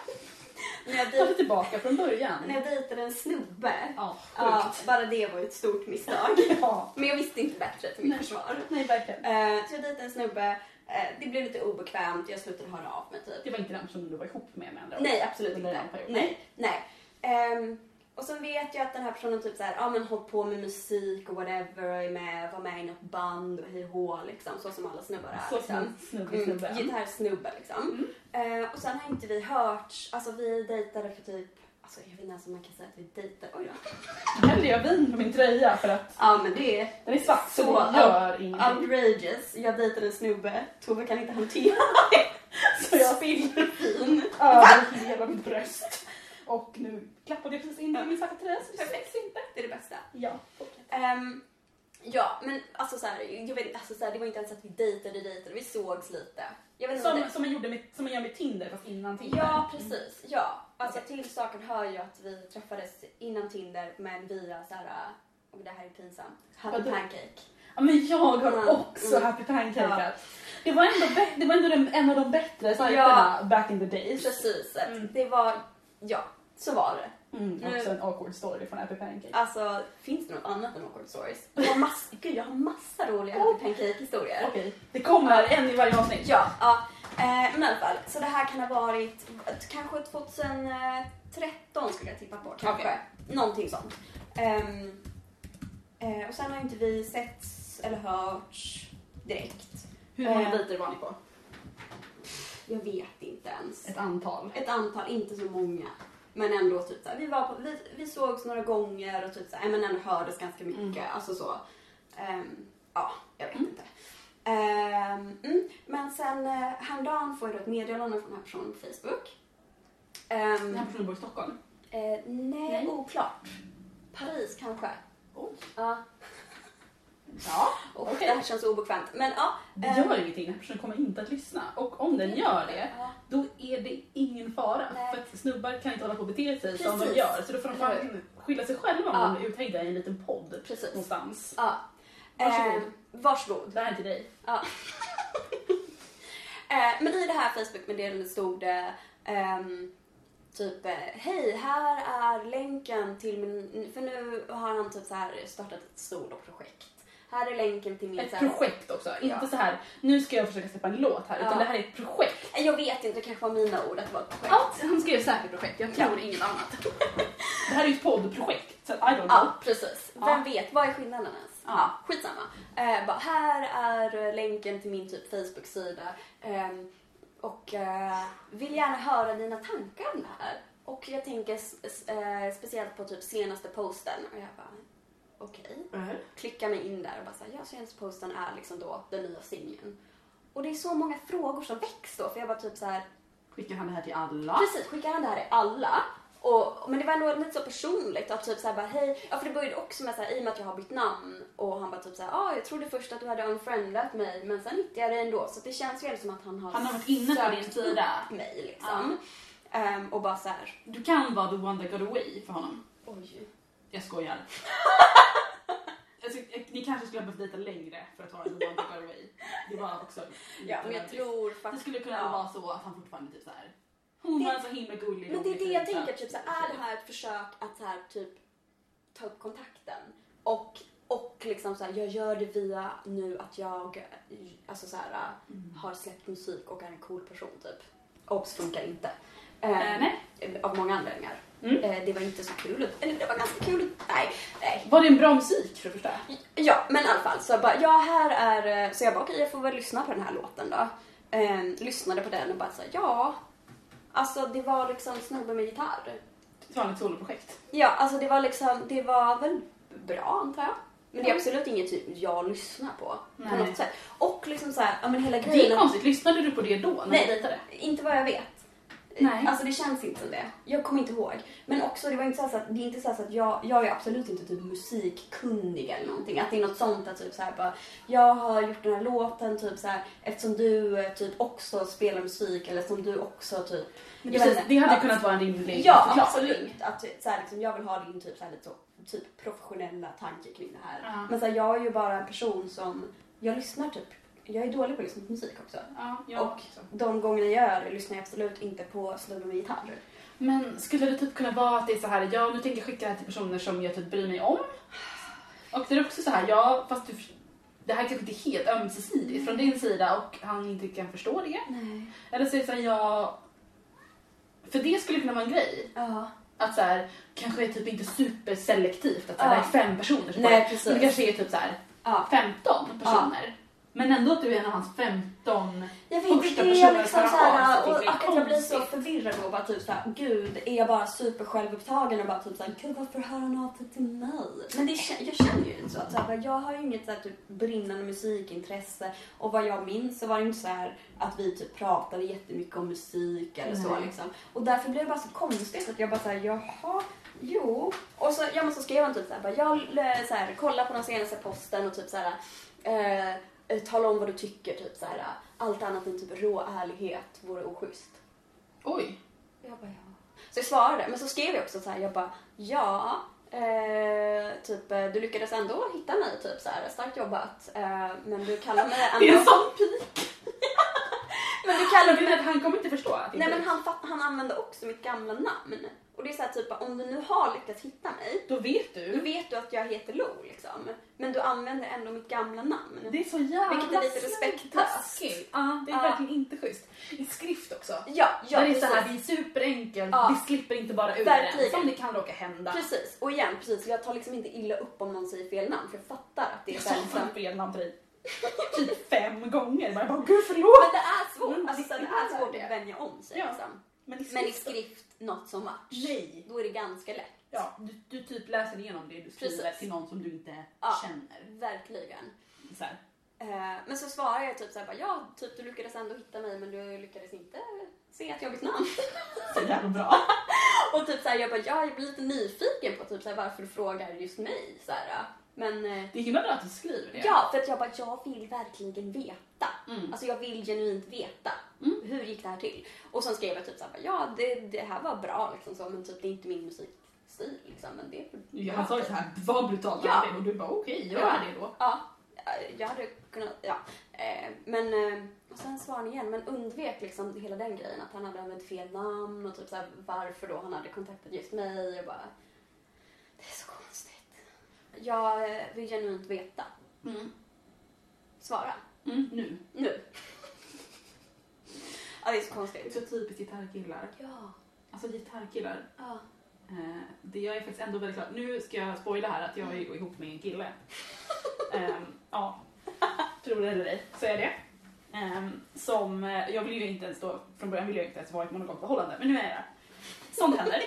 S1: när, jag
S3: Ta det
S1: dej-
S3: tillbaka från början.
S1: när jag dejtade en snubbe.
S3: Ja,
S1: Ja,
S3: sjukt.
S1: bara det var ju ett stort misstag.
S3: Ja.
S1: Men jag visste inte bättre till mitt
S3: Nej.
S1: försvar.
S3: Nej, verkligen.
S1: Eh, så jag dejtade en snubbe. Eh, det blev lite obekvämt, jag slutade höra av mig typ.
S3: Det var inte den som du var ihop med med andra ord.
S1: Nej, absolut
S3: Under
S1: inte.
S3: den perioden.
S1: Nej, nej. Ehm, och sen vet jag att den här personen typ såhär, ja men håll på med musik och whatever och är med, var med i något band och hej och hå, liksom. Så som alla snubbar är.
S3: Så
S1: liksom.
S3: som snubbe,
S1: Mm,
S3: snubbe. Mm.
S1: gitarrsnubbe liksom. Eh, och sen har inte vi hört, alltså vi dejtade för typ, alltså jag vet inte ens om man kan säga att vi dejtade. Oj då.
S3: Hällde jag vin på min tröja för att
S1: Ja men det är
S3: den är svart så,
S1: Så,
S3: det gör ingenting.
S1: outrageous. Jag dejtade en snubbe, Tove kan inte hantera det. Så jag spiller vin.
S3: över hela mitt bröst. Och nu klappade jag precis in i min svarta tröja så det syns inte.
S1: Det är det bästa.
S3: Ja.
S1: Ehm, ja, men alltså så här, jag vet, inte, alltså så här, det var inte ens att vi dejtade, dejtade, vi sågs lite. Jag vet inte om
S3: Som, som, man gjorde med, som man gör med Tinder fast innan
S1: det,
S3: Tinder. Mm.
S1: ja, precis. Ja. Alltså till saken hör ju att vi träffades innan Tinder men via så här, och det här är pinsamt, Happy
S3: Vadå?
S1: Pancake.
S3: Ja, men jag har
S1: Mm.
S3: också
S1: Mm.
S3: happy pancakeat. Det var ändå, bä- det var ändå den, en av de bättre sajterna back in the days.
S1: Precis, att
S3: Mm.
S1: det var, ja, så var det.
S3: Mm,
S1: Mm.
S3: också en awkward story från happy pancake.
S1: Alltså, finns det något annat än awkward stories? Jag har massa, gud, jag har massa roliga Happy Pancake-historier.
S3: Okej, det kommer en i varje avsnitt.
S1: Ja, ja. Eh, men i alla fall. Så det här kan ha varit eh, kanske 2013 skulle jag tippa på. Kanske.
S3: Okej.
S1: Någonting sånt. Ehm, eh, och sen har inte vi setts eller hörts direkt.
S3: Hur många
S1: Eh.
S3: dejter var ni på?
S1: Jag vet inte ens.
S3: Ett antal.
S1: Ett antal, inte så många. Men ändå typ såhär, vi, var på, vi, vi sågs några gånger och typ såhär, nej, men ändå hördes ganska
S3: Mm.
S1: mycket. Alltså så. Ehm, ja, jag vet inte. Ehm, mm. Men sen eh, häromdagen får jag då ett meddelande från den här personen på Facebook. Ehm,
S3: Den här personen bor i Stockholm.
S1: eh, nej,
S3: Nej.
S1: oklart. Paris kanske.
S3: Oj.
S1: Ja.
S3: Ja.
S1: Och
S3: Okej.
S1: Det här känns obekvämt. Men ja.
S3: Det
S1: ehm,
S3: gör ingenting, den här personen kommer inte att lyssna. Och om den gör det,
S1: ja.
S3: då är det ingen fara.
S1: Nej.
S3: För att snubbar kan inte hålla på och bete sig som de
S1: Precis.
S3: gör. Så då får de
S1: Eller
S3: fan skylla sig själva om
S1: Ja.
S3: de är uthängda i en liten podd
S1: Precis.
S3: någonstans.
S1: Ja.
S3: Mm. Varsågod.
S1: Ehm, varsågod.
S3: Det här är till dig.
S1: Ja. Eh, Men i det här Facebook-meddelandet stod det ehm, typ eh, Hej, här är länken till min... För nu har han typ så här startat ett stort projekt. Här är länken till min...
S3: Ett
S1: så här-
S3: projekt också. Inte
S1: Ja.
S3: så här, nu ska jag försöka släppa en låt här. Utan
S1: Ja.
S3: det här är ett projekt.
S1: Eh, Jag vet inte, det kanske var mina ord att det var ett projekt.
S3: Ja, han skrev säkert projekt. Jag tror inget annat. det här är ju ett poddprojekt.
S4: Så I don't know.
S1: Ja, precis.
S4: Ja.
S1: Vem vet, vad är skillnaden ens?
S3: Mm. Ja.
S1: Ja, skitsamma. Eh, bara, här är länken till min typ Facebook-sida. Ehm, och eh, vill gärna höra dina tankar om det här. Och jag tänker s- s- eh, speciellt på typ senaste posten. Och jag bara, okej.
S4: Nej.
S1: Klickar mig in där och bara så här, ja, senaste posten är liksom då den nya singeln. Och det är så många frågor som väcks då. För jag bara typ så här,
S4: Skickar han det här till alla?
S1: Precis, skickar han det här till alla. Och, men det var ändå lite så personligt att typ såhär bara hej, ja för det började också med såhär i och med att jag har bytt namn och han bara typ såhär ah jag trodde först att du hade unfriendat mig men sen hittade jag dig ändå så att det känns ju som att han har
S3: Han har varit inne på din
S1: sökt
S3: sida.
S1: upp mig liksom. Ehm, och bara såhär
S3: Du kan vara the one that got away för honom.
S1: oj.
S3: Jag skojar. alltså, ni kanske skulle ha behövt lite längre för att vara the one that got away. Det var också lite
S1: Ja men jag
S3: nödvändigt.
S1: tror
S3: Det
S1: faktiskt
S3: skulle kunna
S1: ja.
S3: vara så att han fortfarande typ såhär, hon var så himla gullig.
S1: Men det är
S3: rolig
S1: det jag
S3: kille."
S1: tänker, typ så här, är det här ett försök att så här, typ ta upp kontakten? Och, och liksom så här, jag gör det via nu att jag alltså så här, äh,
S3: Mm.
S1: har släppt musik och är en cool person typ. Obs funkar inte. Eh,
S3: Eh, nej.
S1: Av många anledningar.
S3: Mm.
S1: Eh, det var inte så kul. ut- Eller det var ganska kul. ut- Nej, nej.
S4: Var det en bra musik för det första?
S1: Ja, men i alla fall så jag bara, ja här är, eh, så jag bara okej jag får väl lyssna på den här låten då. Eh, lyssnade på den och bara så här, ja. Alltså det var liksom snubbe med gitarr.
S4: Ett vanligt soloprojekt.
S1: Ja, alltså det var liksom, det var väl bra antar jag. Men det är
S3: Ja.
S1: absolut inget typ jag lyssnar på. På
S3: Mm. Nej.
S1: något sätt. Och liksom så här, ja men hela
S3: Det
S1: grejen.
S3: är konstigt, lyssnade du på det då när
S1: Nej.
S3: du dejtade?
S1: Inte vad jag vet.
S3: Nej.
S1: Alltså det känns inte som det. Jag kommer inte ihåg. Men också det var inte så här så att, det är inte så här så att jag, jag är absolut inte typ musikkunnig eller någonting. Att det är något sånt att typ så här bara, jag har gjort den här låten typ så här eftersom du eh, typ också spelar musik eller som du också typ.
S3: Men
S1: jag
S3: Precis,
S1: vet inte.
S3: det hade
S1: Att-
S3: kunnat vara en rimlig
S1: Ja,
S3: förklaring.
S1: absolut. Att, så här, liksom, jag vill ha din typ, så här, lite så, typ professionella tanke kring det här.
S3: Ja.
S1: Men så här, jag är ju bara en person som... Jag lyssnar typ... Jag är dålig på att lyssna på musik också.
S3: Ja, jag
S1: Och-
S3: också.
S1: De gånger jag gör det lyssnar jag absolut inte på snubben med gitarr.
S3: Men skulle det typ kunna vara att det är så här, ja nu tänker jag skicka det här till personer som jag typ bryr mig om. Och det är också så här, ja fast du, det här är kanske inte helt ömsesidigt från din sida och han inte kan förstå det.
S1: Nej.
S3: Eller så är det så här, ja... För det skulle kunna vara en grej.
S1: Ja.
S3: Att så här, kanske är typ inte superselektivt att så här,
S1: Ja.
S3: det är fem personer som
S1: Nej,
S3: får-
S1: precis.
S3: Men det kanske är typ så här,
S1: ja.
S3: 15 personer. Men ändå att du är en av hans 15
S1: Jag vet inte,
S3: Första
S1: det är
S3: personen
S1: liksom
S3: som
S1: så
S3: har
S1: här,
S3: avsnitt,
S1: och
S3: det är
S1: att jag blir så
S3: konstigt.
S1: förvirrad och bara typ så här, gud, är jag bara super självupptagen och bara typ så här, gud varför hör han av sig till mig? Men det, kän- jag känner ju inte så att så här, jag har ju inget så här, typ, brinnande musikintresse och vad jag minns så var det inte så här att vi typ pratade jättemycket om musik eller så
S3: Nej.
S1: liksom. Och därför blev det bara så konstigt att jag bara så här, jaha, jo. Och så, ja, men så skrev han typ så här, bara, jag eh, så här, kolla på den senaste posten och typ så här, eh, eh, tala om vad du tycker, typ så här, allt annat än typ rå ärlighet vore oschysst.
S3: Oj.
S1: Jag bara, ja. Så jag svarade, men så skrev jag också så här, jag bara, ja, eh, typ eh, du lyckades ändå hitta mig, typ så här, starkt jobbat, eh, men du kallar mig
S3: Det är
S1: ändå,
S3: en sån pik.
S1: men du
S3: Jag
S1: kallar
S3: menar att han kommer inte förstå att det
S1: Nej
S3: inte
S1: men han, fatt- han använde också mitt gamla namn. Och det är så här typ om du nu har lyckats hitta mig,
S3: Då vet
S1: då
S3: du.
S1: vet du att jag heter Lo liksom. Men du använder ändå mitt gamla namn.
S3: Det är så jävla
S1: Vilket är lite
S3: slö-
S1: respektlöst.
S3: taskigt. Ja, det är
S1: Ja.
S3: verkligen inte schysst. I skrift också.
S1: Ja, ja
S3: Där det är
S1: precis.
S3: så här, det är superenkelt,
S1: Ja.
S3: det slipper inte bara ur
S1: Verkligen.
S3: en. Som det kan råka hända.
S1: Precis, och igen precis. Jag tar liksom inte illa upp om någon säger fel namn för jag fattar att det är
S3: Jag
S1: så här,
S3: sa
S1: liksom.
S3: fan fel namn till dig. Typ fem gånger. Jag bara, gud förlåt.
S1: Men det är svårt,
S3: Mm,
S1: alltså, det
S3: det
S1: är
S3: är
S1: svårt
S3: det.
S1: att vänja om sig
S3: Ja.
S1: liksom.
S3: Men i skrift,
S1: Men i skrift, not so much.
S3: Nej.
S1: Då är det ganska lätt.
S3: Ja, du, du typ läser igenom det du skriver
S1: Precis.
S3: till någon som du inte
S1: Ja.
S3: känner.
S1: Verkligen.
S3: Så här.
S1: Eh, Men så svarar jag typ såhär bara, ja, typ du lyckades ändå hitta mig men du lyckades inte se att jag har bytt namn.
S3: Så jävla bra.
S1: Och typ såhär, jag bara, ja, jag blir lite nyfiken på typ såhär, varför du frågar just mig. Såhär. Men eh,
S3: Det är himla bra att du skriver det.
S1: ja, för att jag bara, jag vill verkligen veta.
S3: Mm.
S1: Alltså jag vill genuint veta.
S3: Mm.
S1: Hur gick det här till? Och sen skrev jag typ såhär, bara, ja det, det här var bra liksom så, men typ det är inte min musikstil liksom. Men det är för
S3: Ja,
S1: bra,
S3: Han sa ju
S1: typ.
S3: såhär, vad brutalt
S1: Ja.
S3: är det? Och du bara okej, gör
S1: Ja.
S3: det då.
S1: Ja, jag hade kunnat, ja. Eh, Men, eh, och sen svarade han igen, men undvek liksom hela den grejen att han hade använt fel namn och typ såhär varför då han hade kontaktat just mig och bara, det är så konstigt. Jag eh, vill genuint veta.
S3: Mm.
S1: Svara.
S3: Mm, nu.
S1: Nu. ja, det är så
S3: Det är
S1: konstigt.
S3: så typiskt gitarrkillar.
S1: Ja.
S3: Alltså gitarrkillar,
S1: Ja.
S3: Eh, det jag är faktiskt ändå väldigt glad. Nu ska jag spoila här att jag är ihop med en kille. Ehm, ja, tror det eller ej så är det. Ehm, som, eh, jag vill ju inte ens då, från början ville jag inte ens vara i ett monogamt förhållande, men nu är jag det. Sånt händer.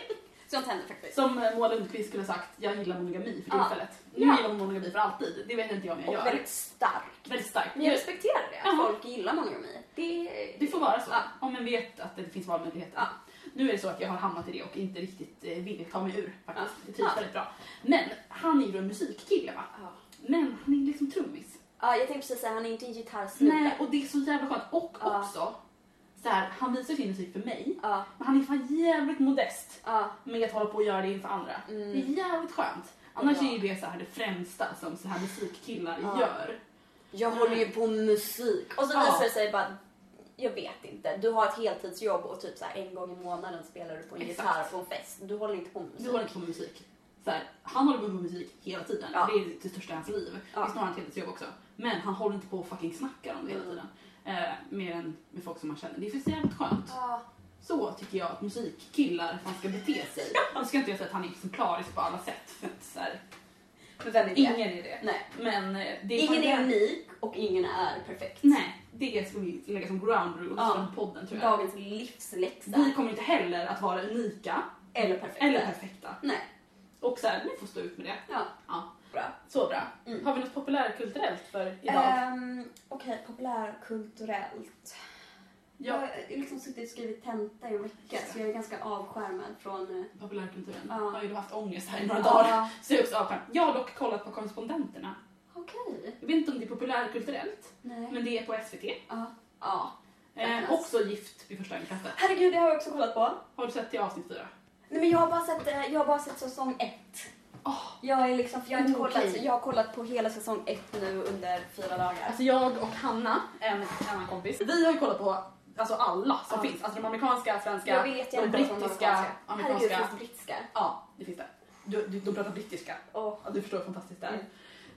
S1: Sånt händer faktiskt.
S3: Som eh, Moa Lundqvist skulle ha sagt, jag gillar monogami för
S1: Ja.
S3: tillfället. Nu
S1: Ja.
S3: gillar hon monogami för alltid. Det vet inte jag om jag
S1: Och
S3: gör.
S1: väldigt starkt.
S3: väldigt starkt.
S1: Men jag respekterar det, att
S3: Jaha.
S1: folk gillar monogami. Det,
S3: Det får vara så.
S1: Ja.
S3: Om man vet att det finns valmöjligheter.
S1: Ja.
S3: Nu är det så att jag har hamnat i det och inte riktigt eh, vill ta mig ur faktiskt.
S1: Ja.
S3: Det trivs
S1: Ja.
S3: väldigt bra. Men han är ju då en musikkille va?
S1: Ja.
S3: Men han är liksom trummis.
S1: Ja, jag tänkte precis säga, han är inte en gitarrsnubbe.
S3: Nej, och det är så jävla skönt. Och
S1: Ja.
S3: också, så här, han visar sin musik för mig.
S1: Ja,
S3: Men han är fan jävligt modest
S1: ja,
S3: med att hålla på och göra det inför andra.
S1: Mm.
S3: Det är jävligt skönt. Annars
S1: Ja.
S3: är ju det så här det främsta som så här musikkillar
S1: Ja.
S3: gör.
S1: jag håller ju på med musik. Och så
S3: Ja.
S1: visar det sig bara, jag vet inte, du har ett heltidsjobb och typ så här en gång i månaden spelar du på en
S3: Exakt.
S1: gitarr på en fest. Du håller inte på med
S3: Du
S1: musik.
S3: håller inte på med musik. Så här, han håller på med musik hela tiden.
S1: Ja.
S3: Det är det största i hans liv.
S1: Ja.
S3: Det är snarare ett heltidsjobb också. Men han håller inte på och fucking snackar om det hela
S1: Mm.
S3: tiden. Eh, mer än med folk som man känner. Det är så jävligt skönt.
S1: Ja.
S3: Så tycker jag att musikkillar fan ska bete sig. Nu ska inte jag säga att han är exemplarisk på alla sätt. För att, så här,
S1: Men vem är det?
S3: ingen är det.
S1: Nej.
S3: Men eh, det är
S1: Ingen
S3: fan-
S1: är unik och ingen är perfekt.
S3: Nej, det ska vi lägga som ground rules
S1: Ja.
S3: för den här podden tror jag.
S1: Dagens livsläxa.
S3: Vi kommer inte heller att vara unika
S1: Eller perfekt.
S3: eller perfekta.
S1: Nej.
S3: Och så här, ni får stå ut med det.
S1: Ja,
S3: Ja.
S1: bra.
S3: Så bra. Eh,
S1: Mm.
S3: Har vi något populärkulturellt för idag?
S1: Um, Okej, populärkulturellt. Jag
S3: ja,
S1: har liksom suttit och skrivit tenta i en vecka så jag är ganska avskärmad från... eh,
S3: populärkulturen.
S1: Ja.
S3: Har ju då haft ångest här i några dagar.
S1: Ja,
S3: Så jag är också avskärmd. Jag har dock kollat på Korrespondenterna.
S1: Okej.
S3: Jag vet inte om det är populärkulturellt,
S1: Nej.
S3: men det är på SVT.
S1: Ja. ja.
S3: Eh, också Gift vid första ögonkastet.
S1: Herregud, det har jag också kollat på.
S3: Har du sett det i avsnitt 4?
S1: Nej, men jag har bara sett, eh, jag har bara sett säsong ett.
S3: Oh.
S1: Jag, är liksom, för jag, har inte
S3: Okej.
S1: kollat, jag har kollat på hela säsong ett nu under fyra dagar.
S3: Alltså jag och Hanna, en annan kompis, vi har ju kollat på alltså alla som
S1: Ja.
S3: finns. Alltså de amerikanska, svenska,
S1: jag vill jättegärna
S3: de
S1: kolla på de
S3: brittiska,
S1: Herregud,
S3: amerikanska.
S1: finns det brittiska?
S3: Ja, det finns det. Du, du, de pratar brittiska.
S1: Åh.
S3: Ja, du förstår hur fantastiskt det är.
S1: Mm.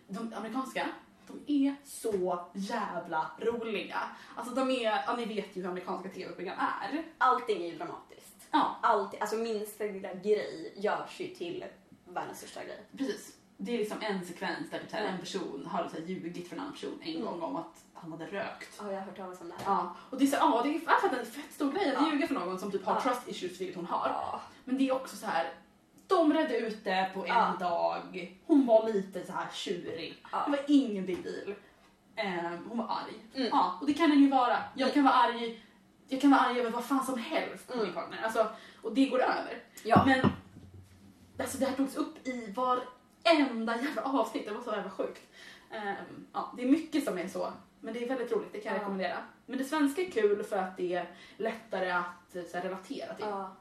S3: De amerikanska, de är så jävla roliga. Alltså de är, ja ni vet ju hur amerikanska tv-program är.
S1: Allting är ju dramatiskt.
S3: Ja,
S1: Allt, alltså minsta lilla grej görs ju till världens största grej.
S3: precis. Det är liksom en sekvens där typ så här
S1: Mm.
S3: en person har så här ljugit för en annan person en
S1: Mm.
S3: gång om att han hade rökt.
S1: Ja, jag har hört talas om det här.
S3: Ja, och det är, så, ja, det är för att en fett stor grej att
S1: Ja.
S3: ljuga för någon som typ har
S1: Ja.
S3: trust issues, vilket hon har.
S1: Ja.
S3: Men det är också så här. De redde ut det på en
S1: Ja.
S3: dag. Hon var lite så här tjurig.
S1: Ja.
S3: Det var ingen big deal. Eh, hon var arg.
S1: Mm.
S3: Ja, och det kan den ju vara. Jag kan vara arg Jag kan vara arg över vad fan som helst på
S1: Mm.
S3: min partner. Alltså, och det går över.
S1: Ja.
S3: Men alltså, det här togs upp i varenda jävla avsnitt. Det var så jävla sjukt. Ehm, ja, det är mycket som är så. Men det är väldigt roligt, det kan jag
S1: Ja.
S3: rekommendera. Men det svenska är kul för att det är lättare att eh, så här, relatera till.
S1: Ja.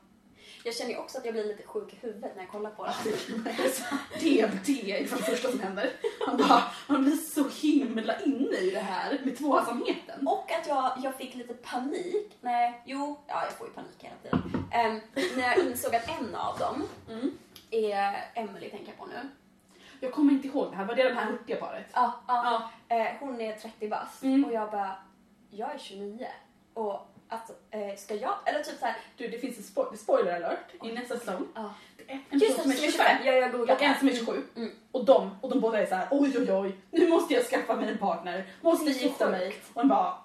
S1: Jag känner ju också att jag blir lite sjuk i huvudet när jag kollar på det.
S3: DMT är det första som händer. Han, bara, han blir så himla inne i det här med tvåsamheten.
S1: Och att jag, jag fick lite panik. Nej, jo, ja, jag får ju panik hela tiden. Ehm, när jag insåg att en av dem
S3: Mm.
S1: är Emily tänker jag på nu.
S3: Jag kommer inte ihåg det här, var det det här hurtiga paret?
S1: Ja, ja.
S3: Ja.
S1: Eh, hon är 30 bast
S3: Mm.
S1: och jag bara, jag är 29. Och alltså, eh, ska jag, eller typ såhär,
S3: Du, det finns en spo- spoiler alert i nästa säsong.
S1: ja.
S3: Det är en person
S1: Just
S3: som
S1: det,
S3: är 25
S1: jag, jag googlar.
S3: och en som är 27.
S1: Mm.
S3: Och, de, och de båda är så här: oj oj oj, nu måste jag skaffa mig en partner, måste
S1: Det är så
S3: gifta
S1: sjukt.
S3: mig. Och han bara,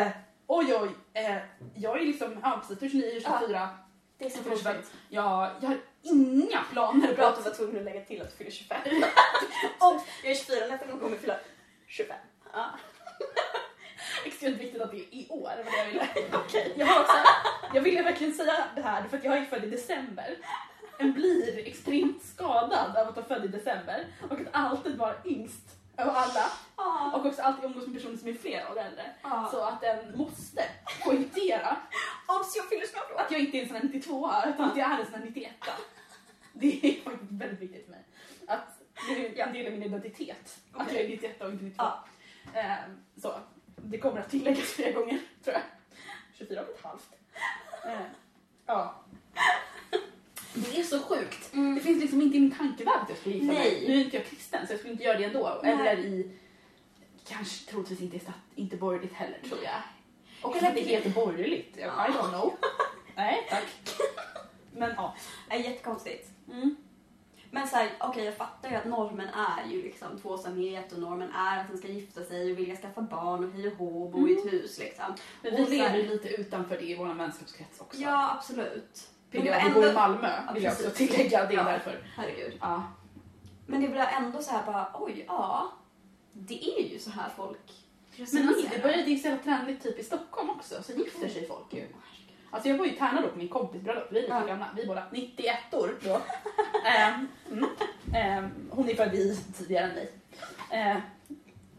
S3: eh, oj oj, eh, jag är liksom, ja precis, du är 29, 24,
S1: Det är så
S3: jag är 25.
S1: konstigt.
S3: Jag, jag har inga planer på
S1: Bra att
S3: att
S1: du var tvungen att lägga till att du fyller 25. och jag är 24, nästa gång kommer jag fylla 25. Ja.
S3: extremt viktigt att det är i år. Var det jag, ville. jag, har också, jag ville verkligen säga det här för att jag är född i december. En blir extremt skadad av att vara född i december och att alltid vara yngst av alla
S1: Ah.
S3: och också alltid umgås med personer som är flera år äldre.
S1: Ah.
S3: Så att den måste poängtera
S1: Obs, jag fyller snart år.
S3: att jag inte är en sån här 92 utan att jag är en sån här 91 Det är faktiskt väldigt viktigt för mig. Att det är en del av min identitet. Att jag är 91 och inte 92.
S1: Ja.
S3: Ehm, så. Det kommer att tilläggas flera gånger tror jag. 24 och ett halvt. Ehm, ja. Det är så sjukt.
S1: Mm.
S3: Det finns liksom inte i min tankevärld att jag skulle gifta mig.
S1: Nej.
S3: Nu är inte jag kristen så jag skulle inte göra det ändå.
S1: Nej.
S3: Eller i, kanske troligtvis inte, i stat, inte borgerligt heller tror jag. Och
S1: Hela
S3: det heter borgerligt. I don't know. Nej tack. Men ja.
S1: är jättekonstigt.
S3: Mm.
S1: Men såhär, okej jag fattar ju att normen är ju liksom tvåsamhet och normen är att man ska gifta sig och vilja skaffa barn och hyra hov och bo i
S3: Mm.
S1: ett hus liksom.
S3: Men vi
S1: Och så här-
S3: lever ju lite utanför det i vår vänskapskrets också.
S1: Ja, absolut. Men det
S3: Pilla,
S1: var
S3: vi bor i
S1: ändå-
S3: Malmö
S1: Ja,
S3: vill jag
S1: precis.
S3: också tillägga. Det är
S1: Ja.
S3: därför.
S1: Herregud.
S3: Ja.
S1: Men det blir ändå så här bara, oj, ja. Det är ju så här folk
S3: Men
S1: resonerar.
S3: alltså, det, börjar, det är så jävla trendigt typ i Stockholm också,
S1: Mm.
S3: så gifter sig folk ju. Alltså jag var ju i Tärna då på min kompis bröllop, vi är lite
S1: Ja.
S3: gamla, vi är båda 91 år då. Ehm, mm. Ehm, hon är född i tidigare än mig. Ehm,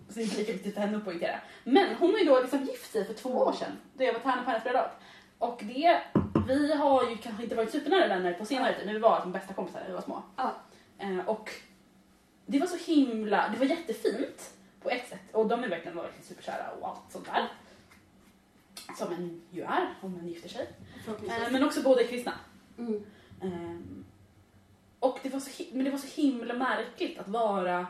S3: så det är inte lika viktigt för henne att poängtera. Men hon har ju då liksom gift sig för två år sedan, då jag var i Tärna på hennes bröllop. Och det, vi har ju kanske inte varit supernära vänner på senare tid, men vi var de bästa kompisar när vi var små.
S1: Ja.
S3: Ehm, och det var så himla, det var jättefint på ett sätt. Och de är verkligen, var verkligen superkära och allt sånt där. Som en ju är om man gifter sig. Eh,
S1: Förhoppningsvis.
S3: Men också båda är kristna.
S1: Mm.
S3: Ehm, Och det var så, hi- men det var så himla märkligt att vara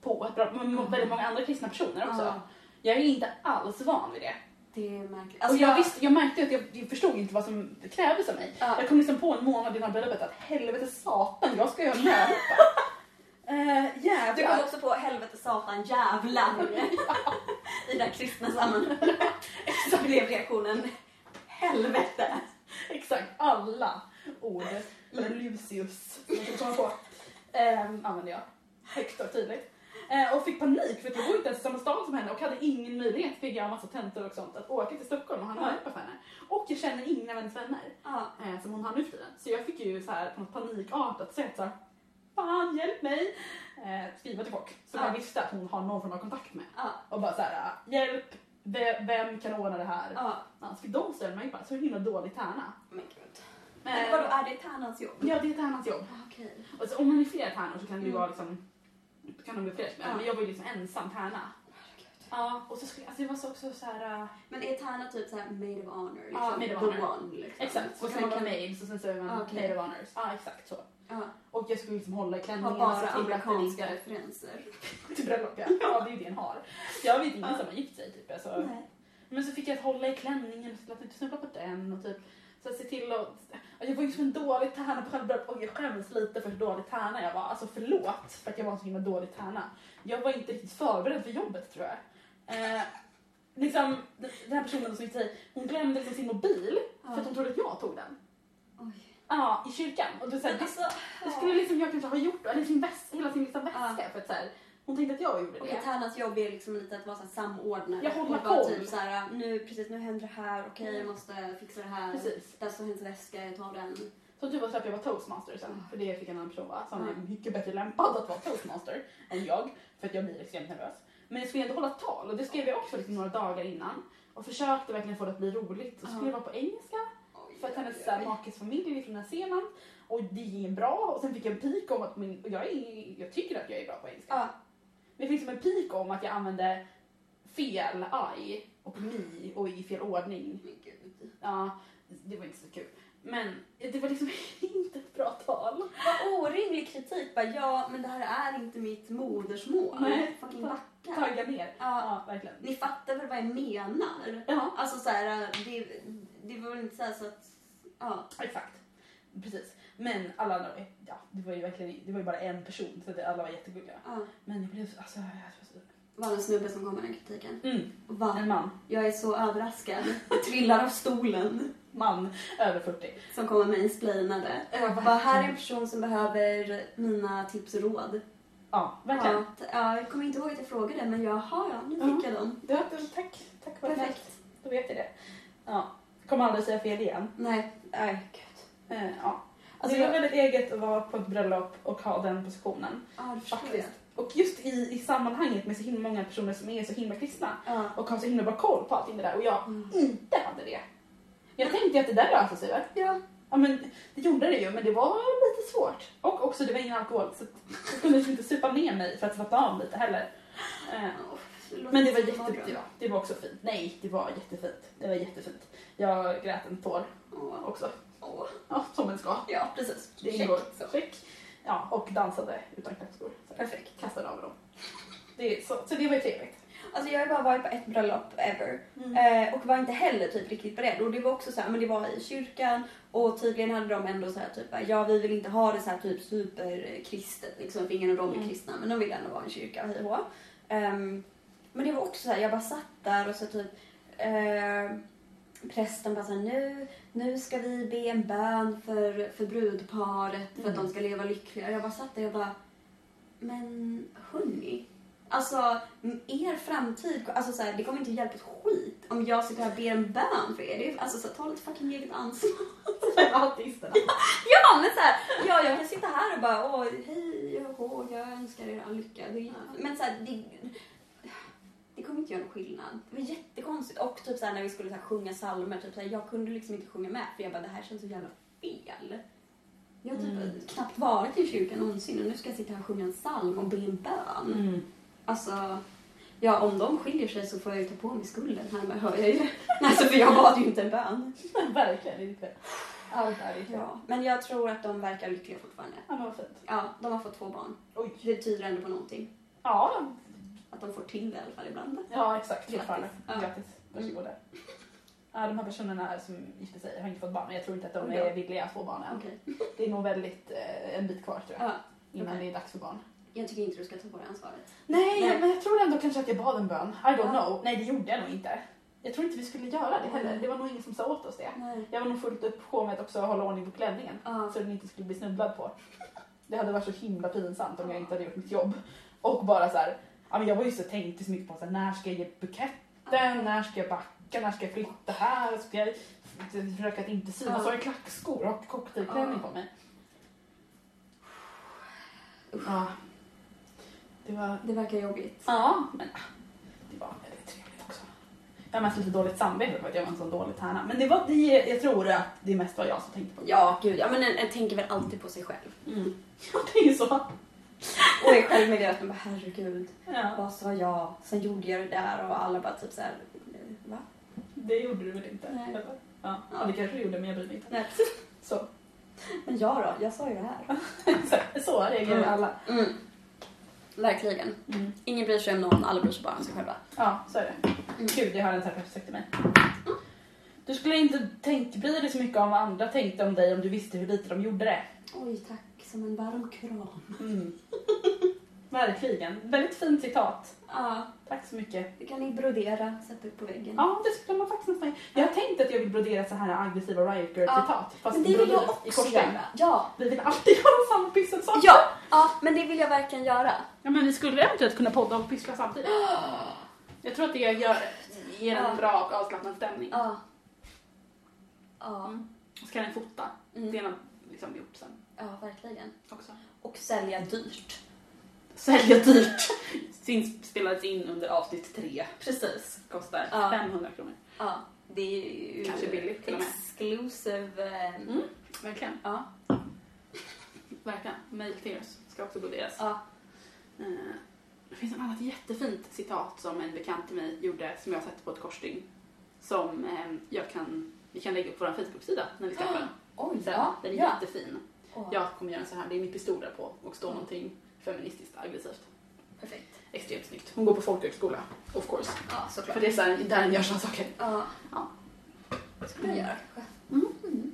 S3: på ett bra, men
S1: Mm.
S3: väldigt många andra kristna personer också.
S1: Ja,
S3: Jag är inte alls van vid det.
S1: det är märkligt. Alltså,
S3: och jag, visste, jag märkte ju att jag, jag förstod inte vad som krävdes av mig.
S1: Ja.
S3: Jag kom liksom på en månad innan bröllopet att helvete satan, jag ska göra möhippa. uh,
S1: Du kom också på helvete, satan, jävlar i det här kristna sammanhanget. Så blev reaktionen helvete.
S3: Exakt, alla ord. Eller Lucius, som jag kan komma på. Ehm, använde jag. Högt och tydligt. Eh, och fick panik för att jag bor inte ens i samma stad som henne och hade ingen möjlighet, fick jag en massa tentor och sånt, att åka till Stockholm och ha en möhippa för henne. Och jag känner ingen av hennes vänner
S1: Ja.
S3: eh, som hon har nu för tiden. Så jag fick ju så här på något panikartat sätt såhär Fan hjälp mig! Eh, skriva till folk som
S1: Ja.
S3: jag visste att hon har någon form av kontakt med.
S1: Ja.
S3: Och bara såhär hjälp, vem, vem kan ordna det här?
S1: Ja.
S3: Annars fick de ställa mig bara så himla dålig tärna. Eh,
S1: Men gud. Men vadå, är det Tärnans jobb?
S3: Ja, det är Tärnas jobb.
S1: Ah, Okej.
S3: Alltså, om man är flera tärnor så kan det ju
S1: Mm.
S3: vara liksom, då kan de bli flera som är.
S1: Ja.
S3: Men jag var ju liksom ensam tärna.
S1: Herregud.
S3: Ja, och så skulle, alltså det var så också så här. äh,
S1: Men är Tärna typ såhär made of honor? Liksom,
S3: Ja, made of honor.
S1: one, liksom.
S3: exakt,
S1: Så
S3: och
S1: kan
S3: sen var man
S1: man
S3: maids och sen så är man
S1: Ah, okej.
S3: maid of honors. Ja, exakt så.
S1: ja,
S3: Och jag skulle liksom hålla i klänningen
S1: ha
S3: och se
S1: bara
S3: till att den
S1: amerikanska
S3: inte-
S1: referenser.
S3: Till bröllop ja. ja, det är ju det den har. Jag vet ingen
S1: Ja.
S3: som har gift sig typ. Alltså.
S1: Nej.
S3: Men så fick jag att hålla i klänningen så att inte snubbla på den och typ så att se till att... Ja, Jag var ju som en dålig tärna på själva bröllopet och jag skäms lite för hur dålig tärna jag var. Alltså förlåt för att jag var en så himla dålig tärna. Jag var inte riktigt förberedd för jobbet tror jag. Eh, liksom, den den här personen som gifte sig, hon glömde liksom sin mobil för att hon trodde att jag tog den.
S1: Oj.
S3: Ja, i kyrkan. Och då, så här,
S1: Men alltså,
S3: det skulle liksom jag kanske ha gjort, eller sin väs- hela sin liksom väska. För att, så här, hon tänkte att jag gjorde det.
S1: Okej, Tärnas jobb är liksom lite att vara så här samordnare.
S3: Jag håller
S1: Och bara
S3: koll. Mm.
S1: Typ såhär, nu, precis, nu händer det här, okej jag måste fixa det här.
S3: Precis.
S1: Där står hennes väska, jag tar den.
S3: Så du var så att jag var toastmaster sen, för det fick en annan person vara, som är
S1: Mm.
S3: mycket bättre lämpad att vara toastmaster än jag, för att jag blir extremt nervös. Men jag skulle ändå hålla tal och det skrev jag också liksom några dagar innan och försökte verkligen få det att bli roligt. Och så skulle det
S1: Ja.
S3: vara på engelska
S1: Oj,
S3: för att
S1: oj,
S3: hennes
S1: oj.
S3: äh, makes familj är från Nya Zeeland och det gick bra och sen fick jag en pik om att min, och jag, är, jag tycker att jag är bra på engelska.
S1: Ja.
S3: Men det finns som en pik om att jag använde fel I och mi och i fel ordning.
S1: Men gud.
S3: Ja, det var inte så kul. Men det var liksom inte ett bra tal.
S1: Vad orimlig kritik. Bara, ja, men det här är inte mitt modersmål.
S3: Nej.
S1: Fucking backa.
S3: Tagga ner.
S1: Ja,
S3: Ja, verkligen.
S1: ni fattar väl vad jag menar?
S3: Ja,
S1: Alltså så här, det, det var väl inte så, här så att... Ja.
S3: exakt. Precis. Men alla andra, var- ja, det var ju verkligen det var ju bara en person så det, alla var jättegulliga.
S1: ja.
S3: Men jag blev så, alltså, jag var så...
S1: Var det en snubbe som kom med den kritiken?
S3: Mm,
S1: Va?
S3: en man.
S1: Jag är så överraskad. Jag trillar av stolen.
S3: Man över 40.
S1: Som kommer med insplainade. Bara, här är en person som behöver mina tips och råd.
S3: Ja, verkligen.
S1: Ja, t- ja, jag kommer inte ihåg att jag frågade, men jaha, ja, nu fick
S3: Ja.
S1: jag dem.
S3: Det var, tack, tack för det.
S1: Perfekt.
S3: Då vet jag det. Ja. Kommer aldrig säga fel igen.
S1: Nej, nej, gud.
S3: Eh, ja.
S1: Alltså,
S3: det var
S1: jag-
S3: väldigt eget att vara på ett bröllop och ha den positionen.
S1: Ja, det förstår jag.
S3: Faktiskt. Och just i, i sammanhanget med så himla många personer som är så himla kristna
S1: Ja.
S3: och har så himla bra koll på allting det där och jag
S1: Mm.
S3: inte hade det. Jag tänkte ju att det där löser sig väl?
S1: Ja.
S3: Ja men det gjorde det ju men det var lite svårt. Och också det var ingen alkohol så att jag kunde liksom inte supa ner mig för att slappna av lite heller. Eh, Men det var jättebra. Ja, det var också fint. Nej, det var jättefint. Det var jättefint. Jag grät en tår
S1: Åh,
S3: också.
S1: åh.
S3: Ja, som en ska.
S1: Ja, precis.
S3: Det ingår. Check. Ja, och dansade utan klackskor. Så jag
S1: Perfekt.
S3: Kastade av dem. Det, är så, så det var ju trevligt.
S1: Alltså jag har bara varit på ett bröllop ever
S3: Mm.
S1: eh, och var inte heller typ riktigt beredd. Och det var också så här, men det var i kyrkan och tydligen hade de ändå så här typ, bara, ja vi vill inte ha det så här typ superkristet liksom, för ingen av dem är
S3: Mm.
S1: kristna men de vill ändå vara en kyrka, hej och hå. Ehm, Men det var också så här, jag bara satt där och så typ eh, prästen bara så här, nu, nu ska vi be en bön för, för brudparet för att
S4: Mm.
S1: de ska leva lyckliga. Jag bara satt där och bara, men hörni, alltså m- er framtid, alltså så här, det kommer inte hjälpa ett skit om jag sitter här och ber en bön för er. Det är, ju- alltså så här, ta lite fucking eget ansvar.
S3: Artisterna.
S1: Ja, men så här, ja, jag kan sitta här och bara åh, hej och hå, jag önskar er all lycka. Det, Men så här, det, det kommer inte göra någon skillnad. Det var jättekonstigt. Och typ så här, när vi skulle så här, sjunga psalmer, typ så här, jag kunde liksom inte sjunga med för jag bara, det här känns så jävla fel. Jag har typ
S4: Mm.
S1: knappt varit i kyrkan någonsin och nu ska jag sitta här och sjunga en psalm och be en bön.
S3: Mm.
S1: Alltså, ja om de skiljer sig så får jag ju ta på mig skulden här med, hör jag ju. Alltså för jag bad ju inte en bön.
S4: Verkligen inte. Allt är inte.
S1: Ja, men jag tror att de verkar lyckliga fortfarande.
S3: Ja, men vad fint.
S1: Ja, de har fått två barn.
S4: Oj.
S1: Det tyder ändå på någonting.
S3: Ja, de-
S1: Att de får till det i alla fall ibland.
S3: ja,
S4: Ja, exakt.
S1: Grattis.
S4: Fortfarande.
S1: Ja.
S4: Grattis. Varsågoda. Ja, de här personerna här som gifte sig har inte fått barn. Jag tror inte att de
S1: Oj då.
S4: är villiga att få barn än.
S1: Okej.
S4: Det är nog väldigt eh, en bit kvar tror jag.
S1: Ja,
S4: Innan
S1: okej.
S4: det är dags för barn.
S1: jag tycker inte du ska ta på dig ansvaret.
S4: Nej,
S1: Nej.
S4: men jag tror ändå kanske att jag bad en bön. I don't
S1: Ja.
S4: know. Mm. Nej, det gjorde jag nog inte. Jag tror inte vi skulle göra det heller. Det var nog ingen som sa åt oss det.
S1: Nej.
S4: Jag var nog fullt upp på med att också hålla ordning på klänningen.
S1: Ja.
S4: Så den inte skulle bli snubblad på. Det hade varit så himla pinsamt om jag inte hade gjort mitt jobb. Och bara så här, ja, men jag var ju så tänkte så mycket på så här, när ska jag ge buketten, när ska jag backa, när ska jag flytta här, ska jag försöka att inte
S1: Ja.
S4: synas. Så har jag klackskor och cocktailklänning på mig. Ja. Det var
S1: Det verkar jobbigt.
S4: Ja, men det var väldigt trevligt också. Jag har mest lite dåligt samvete för att jag var en sån dålig tärna. Men det var det, jag tror att det mest var jag som tänkte på det.
S1: Ja, gud. Ja, men en, en tänker väl alltid på sig själv.
S4: Mm. Ja, det är ju så.
S1: Och är självmedveten. Bara, herregud,
S4: Ja,
S1: vad sa jag? Sen gjorde jag det där och alla bara typ såhär, va?
S4: det gjorde du väl inte?
S1: Nej.
S4: Eller? Ja. ja, det kanske du gjorde men jag bryr mig inte.
S1: Nej.
S4: Så,
S1: Men jag då? Jag sa ju det här.
S4: så reagerar
S1: Mm.
S4: alla.
S1: Mm. Verkligen.
S4: Mm.
S1: Ingen bryr sig om någon, alla bryr sig bara om sig själva.
S4: Ja, så är det.
S1: Mm.
S4: Gud, jag har en terapeut sagt till mig. Du skulle inte tänkt, bry dig så mycket om vad andra tänkte om dig om du visste hur lite de gjorde det.
S1: Oj, tack. Som en varm kram.
S4: Mm. Verkligen. Väldigt fint citat.
S1: Ja,
S4: Tack så mycket.
S1: det kan ni brodera, sätta upp på väggen.
S4: Ja, det skulle man faktiskt nästan Jag har tänkt att jag vill brodera så här aggressiva Riot Girl-citat. Fast
S1: Men det vill jag
S4: broderat i
S1: också
S4: korsband.
S1: göra. Ja,
S4: Vi vill alltid göra samma pysselsak.
S1: Ja, ja, men det vill jag verkligen göra.
S3: Ja, men vi skulle eventuellt kunna podda och pyssla samtidigt. Jag tror att det gör, ger en
S1: Ja.
S3: bra och avslappnad stämning.
S1: Ja. Ja,
S3: Och så kan den fota. Det
S1: mm.
S3: är något liksom gjort sen
S1: ja verkligen.
S3: också.
S1: Och sälja dyrt.
S3: Sälja dyrt. Sin spelades in under avsnitt tre.
S1: Precis.
S3: Kostar
S1: Ja.
S3: 500 kronor.
S1: Ja, det är ju
S3: Kanske billigt till och med.
S1: exclusive. eh,
S3: Mm. Verkligen.
S1: Ja.
S3: Verkligen. Mail till oss ska också broderas.
S1: Ja.
S3: Eh, Det finns ett annat jättefint citat som en bekant till mig gjorde som jag satte på ett korsstygn. Som eh, jag kan, vi kan lägga upp på vår Facebook-sida när vi släpper den.
S1: Oj,
S3: Sen,
S1: ja.
S3: Den är
S1: ja.
S3: jättefin.
S1: Åh,
S3: Jag kommer göra en sån här, det är mitt pistol där på och står
S1: Mm.
S3: någonting feministiskt aggressivt.
S1: Perfekt.
S3: Extremt snyggt. Hon går på folkhögskola, of course.
S1: Ja, såklart.
S3: För det är så här, där den gör såna saker.
S1: Ja.
S3: Ja.
S1: Det skulle jag göra kanske.
S3: Mm.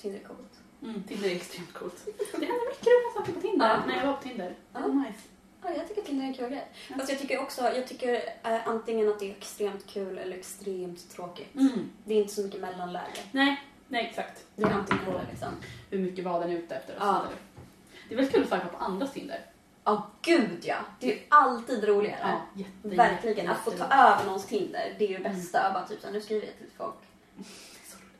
S1: Tinder är coolt.
S3: Mm. Tinder är extremt coolt. Det händer mycket roliga saker på Tinder.
S1: Ja.
S3: När jag var på Tinder.
S1: Ja.
S3: Det var nice.
S1: Ja, jag tycker Tinder är en kul grej.
S3: Ja.
S1: Fast jag tycker också, jag tycker eh, antingen att det är extremt kul eller extremt tråkigt.
S3: Mm.
S1: Det är inte så mycket mellanläge.
S3: Nej, nej exakt.
S1: Det är antingen eller liksom.
S3: Hur mycket var den ute efter och så
S1: Ja.
S3: vidare. Det är väldigt kul att söka på andras Tinder.
S1: Ja, gud ja. Det är ju alltid roligare.
S3: jätte,
S1: Verkligen.
S3: jätte-
S1: Att få ta över någåns Tinder, det är
S3: Mm.
S1: det bästa. Bara typ såhär, nu skriver jag till folk.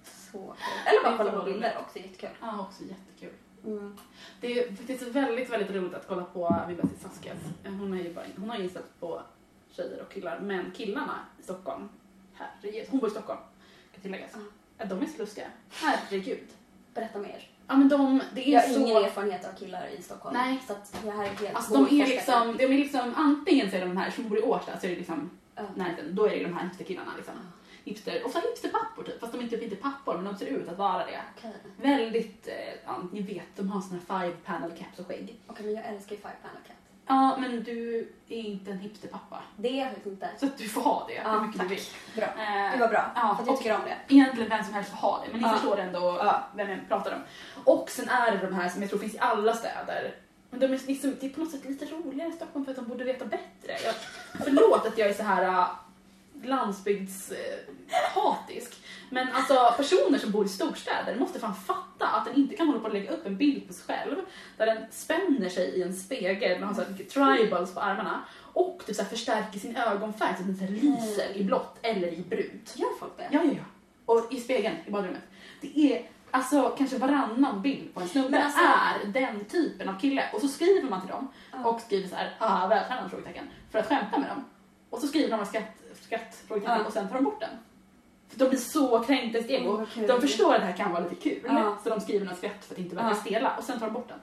S1: Så kul. Eller bara kolla på bilder också, det är jättekul.
S3: Ja, också jättekul.
S1: Mm.
S3: Det är faktiskt väldigt, väldigt roligt att kolla på Vibbetti Saskas. Eh, Hon, är ju bara, hon har ju inställt på tjejer och killar, men killarna i Stockholm, herregud, hon bor i Stockholm, kan tilläggas.
S1: Ja.
S3: Ja. De är så lustiga. Herregud.
S1: Berätta mer.
S3: Ja men de, det är
S1: Jag har
S3: så...
S1: ingen erfarenhet av killar i Stockholm.
S3: Nej.
S1: Så att jag här är helt
S3: Alltså de är
S1: outforskad.
S3: liksom, de är liksom, antingen så är de de här som bor i Årsta, så är det liksom
S1: Ja.
S3: närheten, då är det de här hipsterkillarna liksom.
S1: Ja.
S3: Hipster, ofta hipsterpappor typ, fast de är typ inte pappor men de ser ut att vara det.
S1: Okej,
S3: Väldigt, eh, ja, ni vet, de har såna här five panel caps och skägg.
S1: Okej, men jag älskar ju Five Panel Cat.
S3: Ja, men du är inte en hipsterpappa.
S1: Det är jag faktiskt inte.
S3: Så att du får ha det
S1: Ja,
S3: hur mycket
S1: tack.
S3: du vill.
S1: Bra.
S3: Eh,
S1: Det var bra,
S3: Ja,
S1: för att jag
S3: och-
S1: tycker om det.
S3: Egentligen vem som helst får ha det, men ni
S1: Ja.
S3: förstår ändå
S1: Ja.
S3: vem jag pratar om. Och sen är det de här som jag tror finns i alla städer. Men de är liksom, det är på något sätt lite roligare i Stockholm för att de borde veta bättre. Jag, förlåt att jag är så här äh, landsbygds äh, hatisk. Men alltså personer som bor i storstäder måste fan fatta att den inte kan hålla på att lägga upp en bild på sig själv där den spänner sig i en spegel med har så här mycket tribals på armarna och typ så här förstärker sin ögonfärg så att den så här
S1: Mm.
S3: lyser i blått eller i brunt.
S1: Gör folk det?
S3: Ja, ja, ja. Och i spegeln i badrummet. Det är alltså kanske varannan bild på en snubbe
S1: Men alltså-
S3: är den typen av kille. Och så skriver man till dem
S1: Ja.
S3: och skriver så här, ah, vältränad? Frågetecken. För att skämta med dem. Och så skriver de en skratt, skratt frågetecken
S1: Ja.
S3: och sen tar de bort den. För de blir så kränkta i sitt
S1: Åh,
S3: ego.
S1: vad kul.
S3: de förstår att det här kan vara lite kul.
S1: Ja.
S3: Så de skriver något skratt för att inte verka
S1: Ja.
S3: stela och sen tar de bort den.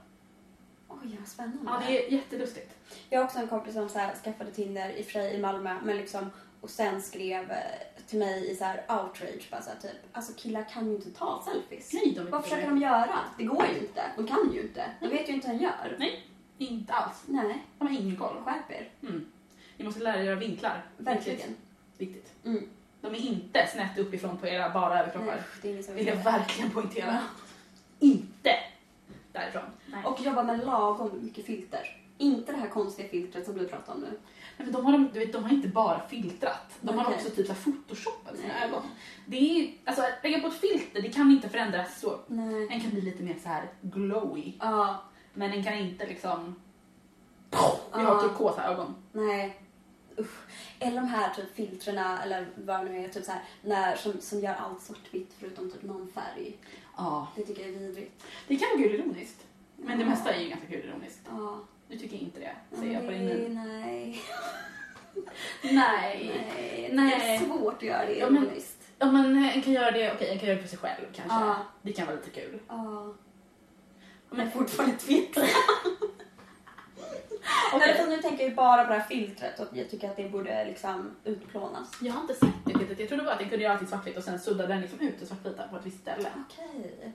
S1: Oj, vad spännande.
S3: Ja, det är jättelustigt.
S1: Jag har också en kompis som så här, skaffade Tinder i och för sig i Malmö men liksom, och sen skrev eh, till mig i så här outrage bara så här, typ alltså killar kan ju inte ta selfies.
S3: Nej, de är
S1: Vad
S3: inte
S1: försöker
S3: roliga.
S1: de göra? Det går ju inte. De kan ju inte. De vet ju inte hur de gör.
S3: Nej, inte alls.
S1: Nej,
S3: De har ingen koll.
S1: skärp er.
S3: Mm. Ni måste lära er era vinklar.
S1: Verkligen.
S3: Viktigt.
S1: Mm.
S3: De är inte snett uppifrån på era bara överkroppar.
S1: Nej, det är ingen som
S3: Vill
S1: gör
S3: jag
S1: det.
S3: verkligen poängtera. Inte därifrån. Och,
S1: Och jobba med lagom mycket filter. Inte det här konstiga filtret som du pratar om nu.
S3: nej, men de, har, de- du vet, de har inte bara filtrat. De har
S1: Okej.
S3: också typ så här photoshopat sina
S1: Nej.
S3: ögon. Det är, alltså, att lägga på ett filter, det kan inte förändras så.
S1: Nej.
S3: En kan bli lite mer så här glowy.
S1: Ja,
S3: Men en kan inte liksom... Jag har
S1: Ja.
S3: turkosa ögon.
S1: nej. Usch. Eller de här typ filtrerna eller vad det nu är, typ så här, när, som, som gör allt svartvitt förutom typ någon färg.
S3: Ja.
S1: Det tycker jag är vidrigt.
S3: Det kan vara kul ironiskt. Men det
S1: Ja.
S3: mesta är ju ganska kul ironiskt.
S1: Ja.
S3: Nu tycker jag inte det, säger
S1: Nej,
S3: jag på din min.
S1: nej.
S3: Nej.
S1: Nej. Det
S3: Nej.
S1: är svårt att göra det
S3: Ja, men-
S1: ironiskt.
S3: Ja men eh, en kan göra det, okej en kan göra det för sig själv kanske.
S1: Ja.
S3: Det kan vara lite kul.
S1: Ja.
S3: Men
S1: fortfarande tveksam.
S3: Okej.
S1: Okay. Nu tänker jag ju bara på det här filtret och jag tycker att det borde liksom utplånas.
S3: Jag har inte sett det filtret. Jag trodde bara att den kunde göra allting svartvitt och sen suddade den liksom ut det svartvita på ett visst ställe.
S1: Okej.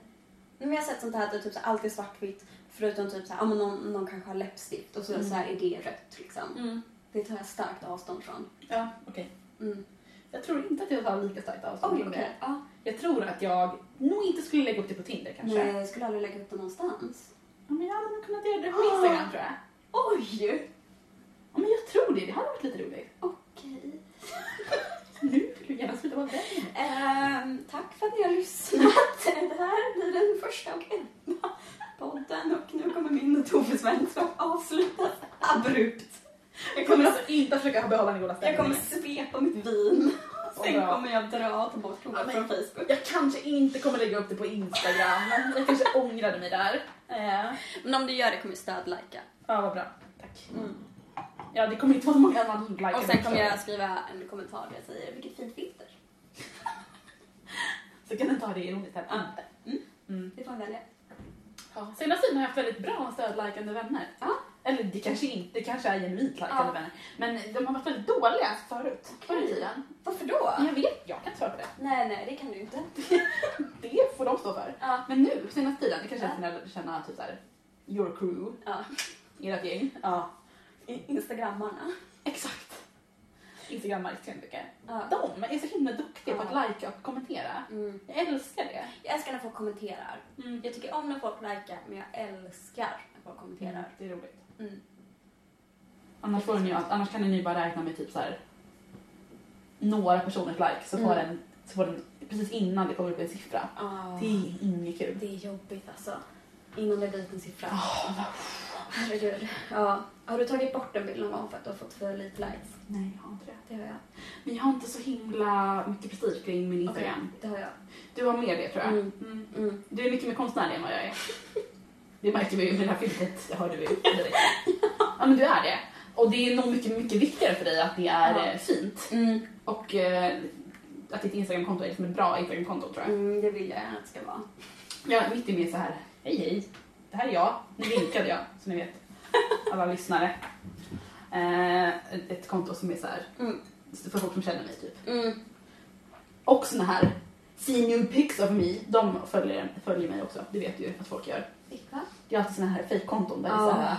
S1: Men jag har sett sånt här att det är typ så här, allt är svartvitt förutom typ så här, ja, men någon, någon kanske har läppstift och så,
S3: Mm.
S1: så här är det rött liksom. Det tar jag starkt avstånd från.
S3: Ja, okej.
S1: Mm.
S3: Jag tror inte att jag tar lika starkt avstånd
S1: Oj,
S3: från
S1: okej.
S3: det.
S1: Ja.
S3: Jag tror att jag nog inte skulle lägga upp det på Tinder kanske.
S1: Nej, jag skulle aldrig lägga upp det någonstans.
S3: Ja, men jag hade nog kunnat göra det på Instagram
S1: Ah.
S3: tror jag.
S1: Oj!
S3: Ja, men jag tror det. Det hade varit lite roligt.
S1: Okej.
S3: Nu vill du gärna sluta vara vän.
S1: Ehm, tack för att ni har lyssnat. Det här blir den första och enda podden och nu kommer min och Toves vänskap avslutas abrupt.
S3: Jag kommer alltså inte att försöka behålla den goda
S1: Jag
S3: stämningen.
S1: kommer svepa mitt vin. Sen
S3: bra.
S1: kommer jag dra och ta bort Tove
S3: Ja, men-
S1: från Facebook.
S3: Jag kanske inte kommer lägga upp det på Instagram. Jag kanske ångrade mig där. Eh,
S1: Men om du gör det kommer jag stödlajka.
S3: Ja, vad bra. Tack.
S1: Mm.
S3: Ja, det kommer inte vara många andra som likar
S1: Och
S3: den
S1: sen kommer
S3: förstås.
S1: jag skriva en kommentar där jag säger vilket fint filter.
S3: Så kan den ta det ironiskt här.
S1: Ja. Mm.
S3: Mm.
S1: Det får man välja.
S3: Ja. Senaste tiden har jag haft väldigt bra stödlikande vänner.
S1: Ja.
S3: Eller det kanske inte, det kanske är genuint likande
S1: Ja.
S3: vänner. Men de har varit väldigt dåliga förut. Förr i tiden.
S1: Varför då?
S3: Jag vet, jag kan inte svara på det.
S1: Nej, nej, det kan du inte.
S3: Det får de stå för.
S1: Ja.
S3: Men nu, senaste tiden, det kanske
S1: Ja.
S3: jag kunnat känna typ såhär, your crew,
S1: Ja.
S3: ert gäng. Ja.
S1: Instagrammarna.
S3: Exakt. Instagram-marknadsföring tycker jag.
S1: Ja.
S3: De är så himla duktiga på
S1: Ja.
S3: att likea och kommentera.
S1: Mm.
S3: Jag älskar det.
S1: Jag älskar när folk kommenterar.
S3: Mm.
S1: Jag tycker om när folk likar, men jag älskar när folk kommenterar.
S3: Det är roligt.
S1: Mm.
S3: Annars, får ni, ju- annars kan ni ju bara räkna med typ så här, några personers like så får,
S1: Mm.
S3: den, så får den precis innan det kommer upp en siffra. Det
S1: Det,
S3: är inget kul.
S1: det är jobbigt alltså. Innan det blir en siffra.
S3: Ah,
S1: Herregud. Ja. Har du tagit bort en bild någon gång för att du har fått för lite likes?
S3: nej, jag har inte det.
S1: Det har jag.
S3: Men jag har inte så himla mycket prestige kring min Instagram.
S1: Det har jag.
S3: Du har mer det tror jag.
S1: Mm.
S3: Mm.
S1: Mm.
S3: Du är mycket mer konstnärlig än vad jag är. Det märkte vi ju med det här filtret, det hörde vi ju direkt. Ja men du är det. Och det är nog mycket, mycket viktigare för dig att det är
S1: Ja.
S3: eh, fint.
S1: Mm.
S3: Och eh, att ditt Instagramkonto är liksom ett bra Instagramkonto tror jag.
S1: Mm, det vill jag gärna att det ska vara.
S3: Ja, mitt är mer så här. Hej hej, det här är jag. Nu vinkade jag, så ni vet. Alla lyssnare. Eh, ett- ett konto som är så här
S1: Mm.
S3: för folk som känner mig typ.
S1: Mm.
S3: Och såna här Senium pics of me, de följer, följer mig också. Det vet ju att folk gör.
S1: Vilka?
S3: Det är alltid såna här fejkkonton där det är
S1: Ja.
S3: så här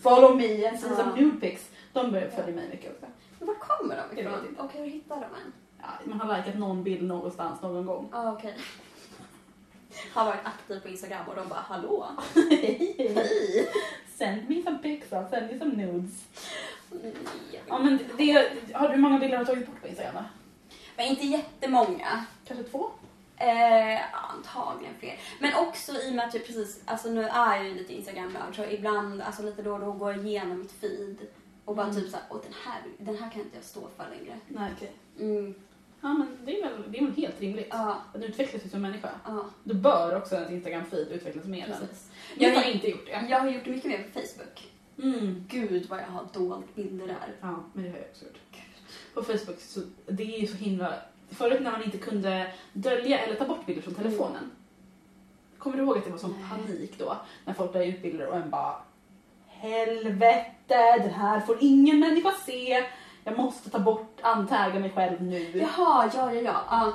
S3: Follow me and see
S1: Ja.
S3: some nude pics. De börjar följa mig mycket också.
S1: Men var kommer de
S3: Jag vet
S1: ifrån?
S3: inte.
S1: Och hur hittar de en?
S3: Ja, man har likat någon bild någonstans någon gång.
S1: Ja, okej. Har varit aktiv på Instagram och de bara hallå?
S3: Hej! Send me some pics, I'll send you some nudes.
S1: Nej.
S3: Ja, men det, har du många bilder du har tagit bort på Instagram? va?
S1: Men inte jättemånga.
S3: Kanske två?
S1: Eh, antagligen fler. Men också i och med att jag precis, alltså nu är jag ju lite instagram så ibland, alltså lite då och då går jag igenom mitt feed och bara
S3: Mm.
S1: typ såhär, åh den här, den här kan inte jag stå för längre.
S3: Nej, okej.
S1: Mm.
S3: Ja, men det är väl, det är väl helt rimligt.
S1: Ja,
S3: Att utvecklas ju som människa.
S1: ja,
S3: Då bör också ens Instagram-feed utvecklas mer. än-
S1: precis.
S3: Jag
S1: Jag-
S3: har inte gjort det.
S1: Jag har gjort mycket mer på Facebook.
S3: Mm.
S1: Gud vad jag har dolt bilder där.
S3: Ja, men det har jag också gjort. På Facebook, så, det är ju så himla... Förut när man inte kunde dölja eller ta bort bilder från telefonen. Kommer du ihåg att det var sån
S1: Nej.
S3: panik då? När folk la ut bilder och en bara Helvete, det här får ingen människa se. Jag måste ta bort, antagga mig själv nu.
S1: Jaha, ja, Ah, ja, ja. ja.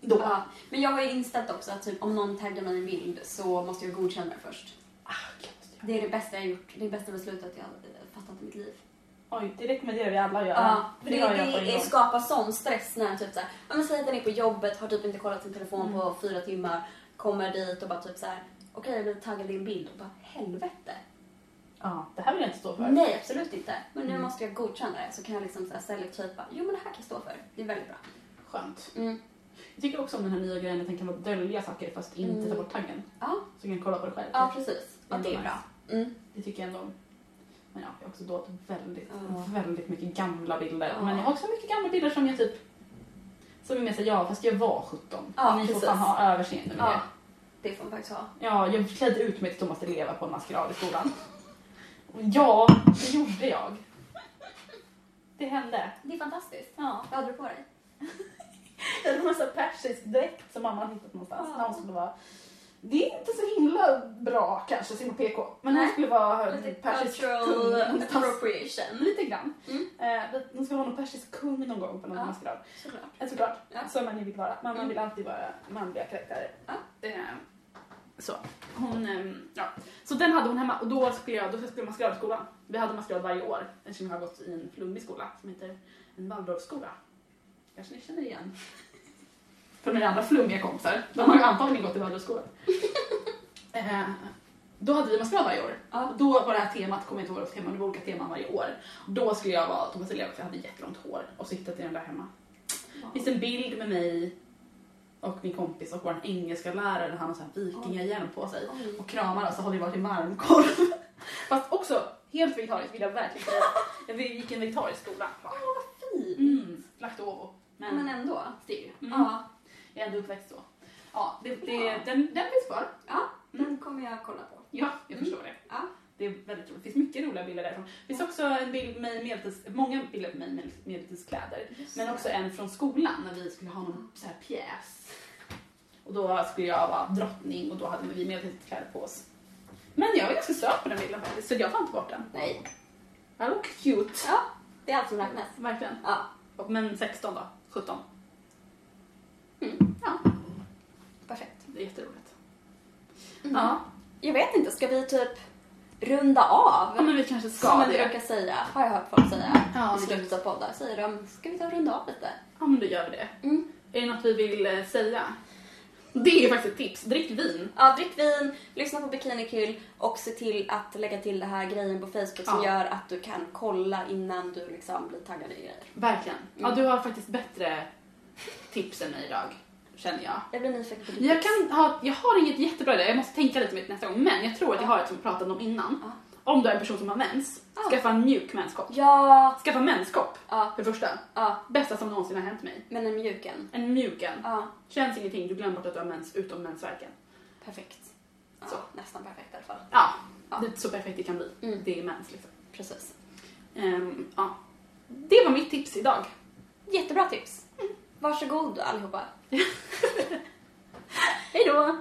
S3: Då.
S1: Ja. Men jag har ju inställt också att typ, om någon taggar mig i en bild så måste jag godkänna det först.
S3: Ah, gud, måste jag-
S1: Det är det bästa jag har gjort. Det är det bästa beslutet jag eh, fattat i mitt liv.
S3: Oj, det rekommenderar vi alla att göra.
S1: Ja,
S3: För
S1: det,
S3: det har jag på
S1: det,
S3: en gång.
S1: skapar sån stress när typ såhär, ja, men säg att den är på jobbet, har typ inte kollat sin telefon
S3: Mm.
S1: på fyra timmar, kommer dit och bara typ såhär, okej jag blev taggad i en bild och bara helvete.
S3: Ja, det här vill jag inte stå för.
S1: Nej absolut inte, men nu
S3: Mm.
S1: måste jag godkänna det så kan jag liksom såhär selektivt bara, jo men det här kan jag stå för, det är väldigt bra.
S3: Skönt.
S1: Mm.
S3: Jag tycker också om den här nya grejen att den kan dölja saker fast inte ta bort taggen.
S1: Ja.
S3: Så du kan kolla på det själv.
S1: Mm. Ja precis, ja,
S3: Ändå
S1: det är
S3: nice.
S1: bra. Mm.
S3: Det tycker jag ändå om. Men ja, jag har också dolt väldigt,
S1: Ja.
S3: väldigt mycket gamla bilder.
S1: Ja.
S3: Men jag har också mycket gamla bilder som jag typ som är med sig, ja fast jag var 17.
S1: Ja,
S3: Ni får
S1: precis.
S3: fan ha överseende med
S1: Ja,
S3: det.
S1: det får man faktiskt ha.
S3: Ja, jag klädde ut mig till Thomas Di Leva på en maskerad i skolan. Och ja, det gjorde jag. Det hände.
S1: Det är fantastiskt.
S3: Ja.
S1: Vad hade du på dig?
S3: Jag hade massa persisk dräkt som mamma hade hittat någonstans.
S1: Ja.
S3: När hon skulle vara... Det är inte så himla bra kanske, så himla PK. Men hon
S1: Nej.
S3: skulle vara
S1: Lite
S3: persisk
S1: cultural
S3: kung någonstans.
S1: appropriation.
S3: Lite grann.
S1: Mm.
S3: Eh, de ska vara någon persisk kung någon gång på någon
S1: Ja.
S3: maskerad.
S1: Såklart.
S3: Eh, Såklart,
S1: Ja.
S3: som man ju vill vara. Man, man
S1: Mm.
S3: vill alltid vara manliga karaktärer.
S1: Ja.
S3: Eh, så. Hon, ehm, ja. så den hade hon hemma och då skulle jag, då skulle jag maskeradskolan. Vi hade maskerad varje år eftersom jag har gått i en flummig skola som heter en Waldorfskola. Kanske ni känner igen? För mina andra flummiga kompisar, de har ju antagligen gått i Waldorfskolan. eh, då hade vi maskerad varje år.
S1: Ja.
S3: Och Då var det här temat, kommer jag inte ihåg vad det var för tema, det var olika teman varje år. Då skulle jag vara Thomas Di Leva för jag hade jättelångt hår och så hittade jag den där hemma. Det finns en bild med mig och min kompis och vår engelska lärare, han har så här vikingahjälm på sig
S1: Oj.
S3: och kramar oss och håller varsin varmkorv. Fast också helt vegetariskt vill jag verkligen säga. Jag gick i en vegetarisk skola.
S1: Åh, vad fint!
S3: Mm, Laktovo. Men,
S1: Men ändå.
S3: det är ju. Mm.
S1: Ja,
S3: Jag är ändå uppväxt så. Ja, det, det,
S1: Ja.
S3: Den, den finns kvar.
S1: ja
S3: Mm.
S1: den kommer jag kolla på.
S3: Ja, jag
S1: Mm.
S3: förstår det.
S1: Ja.
S3: Det är väldigt roligt. Det finns mycket roliga bilder därifrån. Det finns också en bild med mig i medeltids, många bilder på mig i medel- medeltidskläder. Men också en från skolan när vi skulle ha någon så här pjäs. Och då skulle jag vara drottning och då hade vi medeltidskläder på oss. Men jag var ganska söt på den bilden faktiskt, så jag tar inte bort den.
S1: Nej.
S3: Den var cute.
S1: Ja, det är allt som räknas.
S3: Verkligen.
S1: Ja,
S3: Och, men 16 då, 17.
S1: Mm.
S3: Ja,
S1: perfekt.
S3: det är jätteroligt.
S1: Mm.
S3: Ja.
S1: Jag vet inte, ska vi typ runda av?
S3: ja, men vi kanske ska
S1: Som man
S3: det.
S1: brukar säga, har jag hört folk säga
S3: Ja,
S1: i
S3: det
S1: slutet av poddar. Säger de, ska vi ta och runda av lite?
S3: Ja, men då gör vi det.
S1: Mm.
S3: Är det något vi vill eh, säga? Det är faktiskt ett tips. Drick vin.
S1: Ja, drick vin, lyssna på Bikini Kill och se till att lägga till det här grejen på Facebook som
S3: Ja.
S1: gör att du kan kolla innan du liksom blir taggad i grejer.
S3: Verkligen. Ja,
S1: Mm.
S3: du har faktiskt bättre tips än mig idag, känner jag.
S1: Jag blir nyfiken på ditt
S3: Jag,
S1: tips.
S3: kan ha, jag har inget jättebra där, jag måste tänka lite mer nästa gång. Men jag tror att jag har ett som vi pratade om innan.
S1: Ja.
S3: Om du är en person som har mens,
S1: Ja.
S3: skaffa en mjuk menskopp.
S1: Ah. Ja,
S3: Skaffa menskopp,
S1: ja,
S3: för det första.
S1: ja.
S3: Bästa som någonsin har hänt mig.
S1: Men en mjuken.
S3: En mjuken.
S1: Ja,
S3: Känns ingenting, du glömmer bort att du har mens utom mensvärken.
S1: perfekt.
S3: Så.
S1: Så, nästan perfekt i alla fall.
S3: Ja,
S1: Ja.
S3: Det, så perfekt det kan bli.
S1: Mm.
S3: Det är mens liksom.
S1: Precis.
S3: Ehm, ja. Det var mitt tips idag.
S1: Mm. Jättebra tips. Varsågod allihopa. Hej då!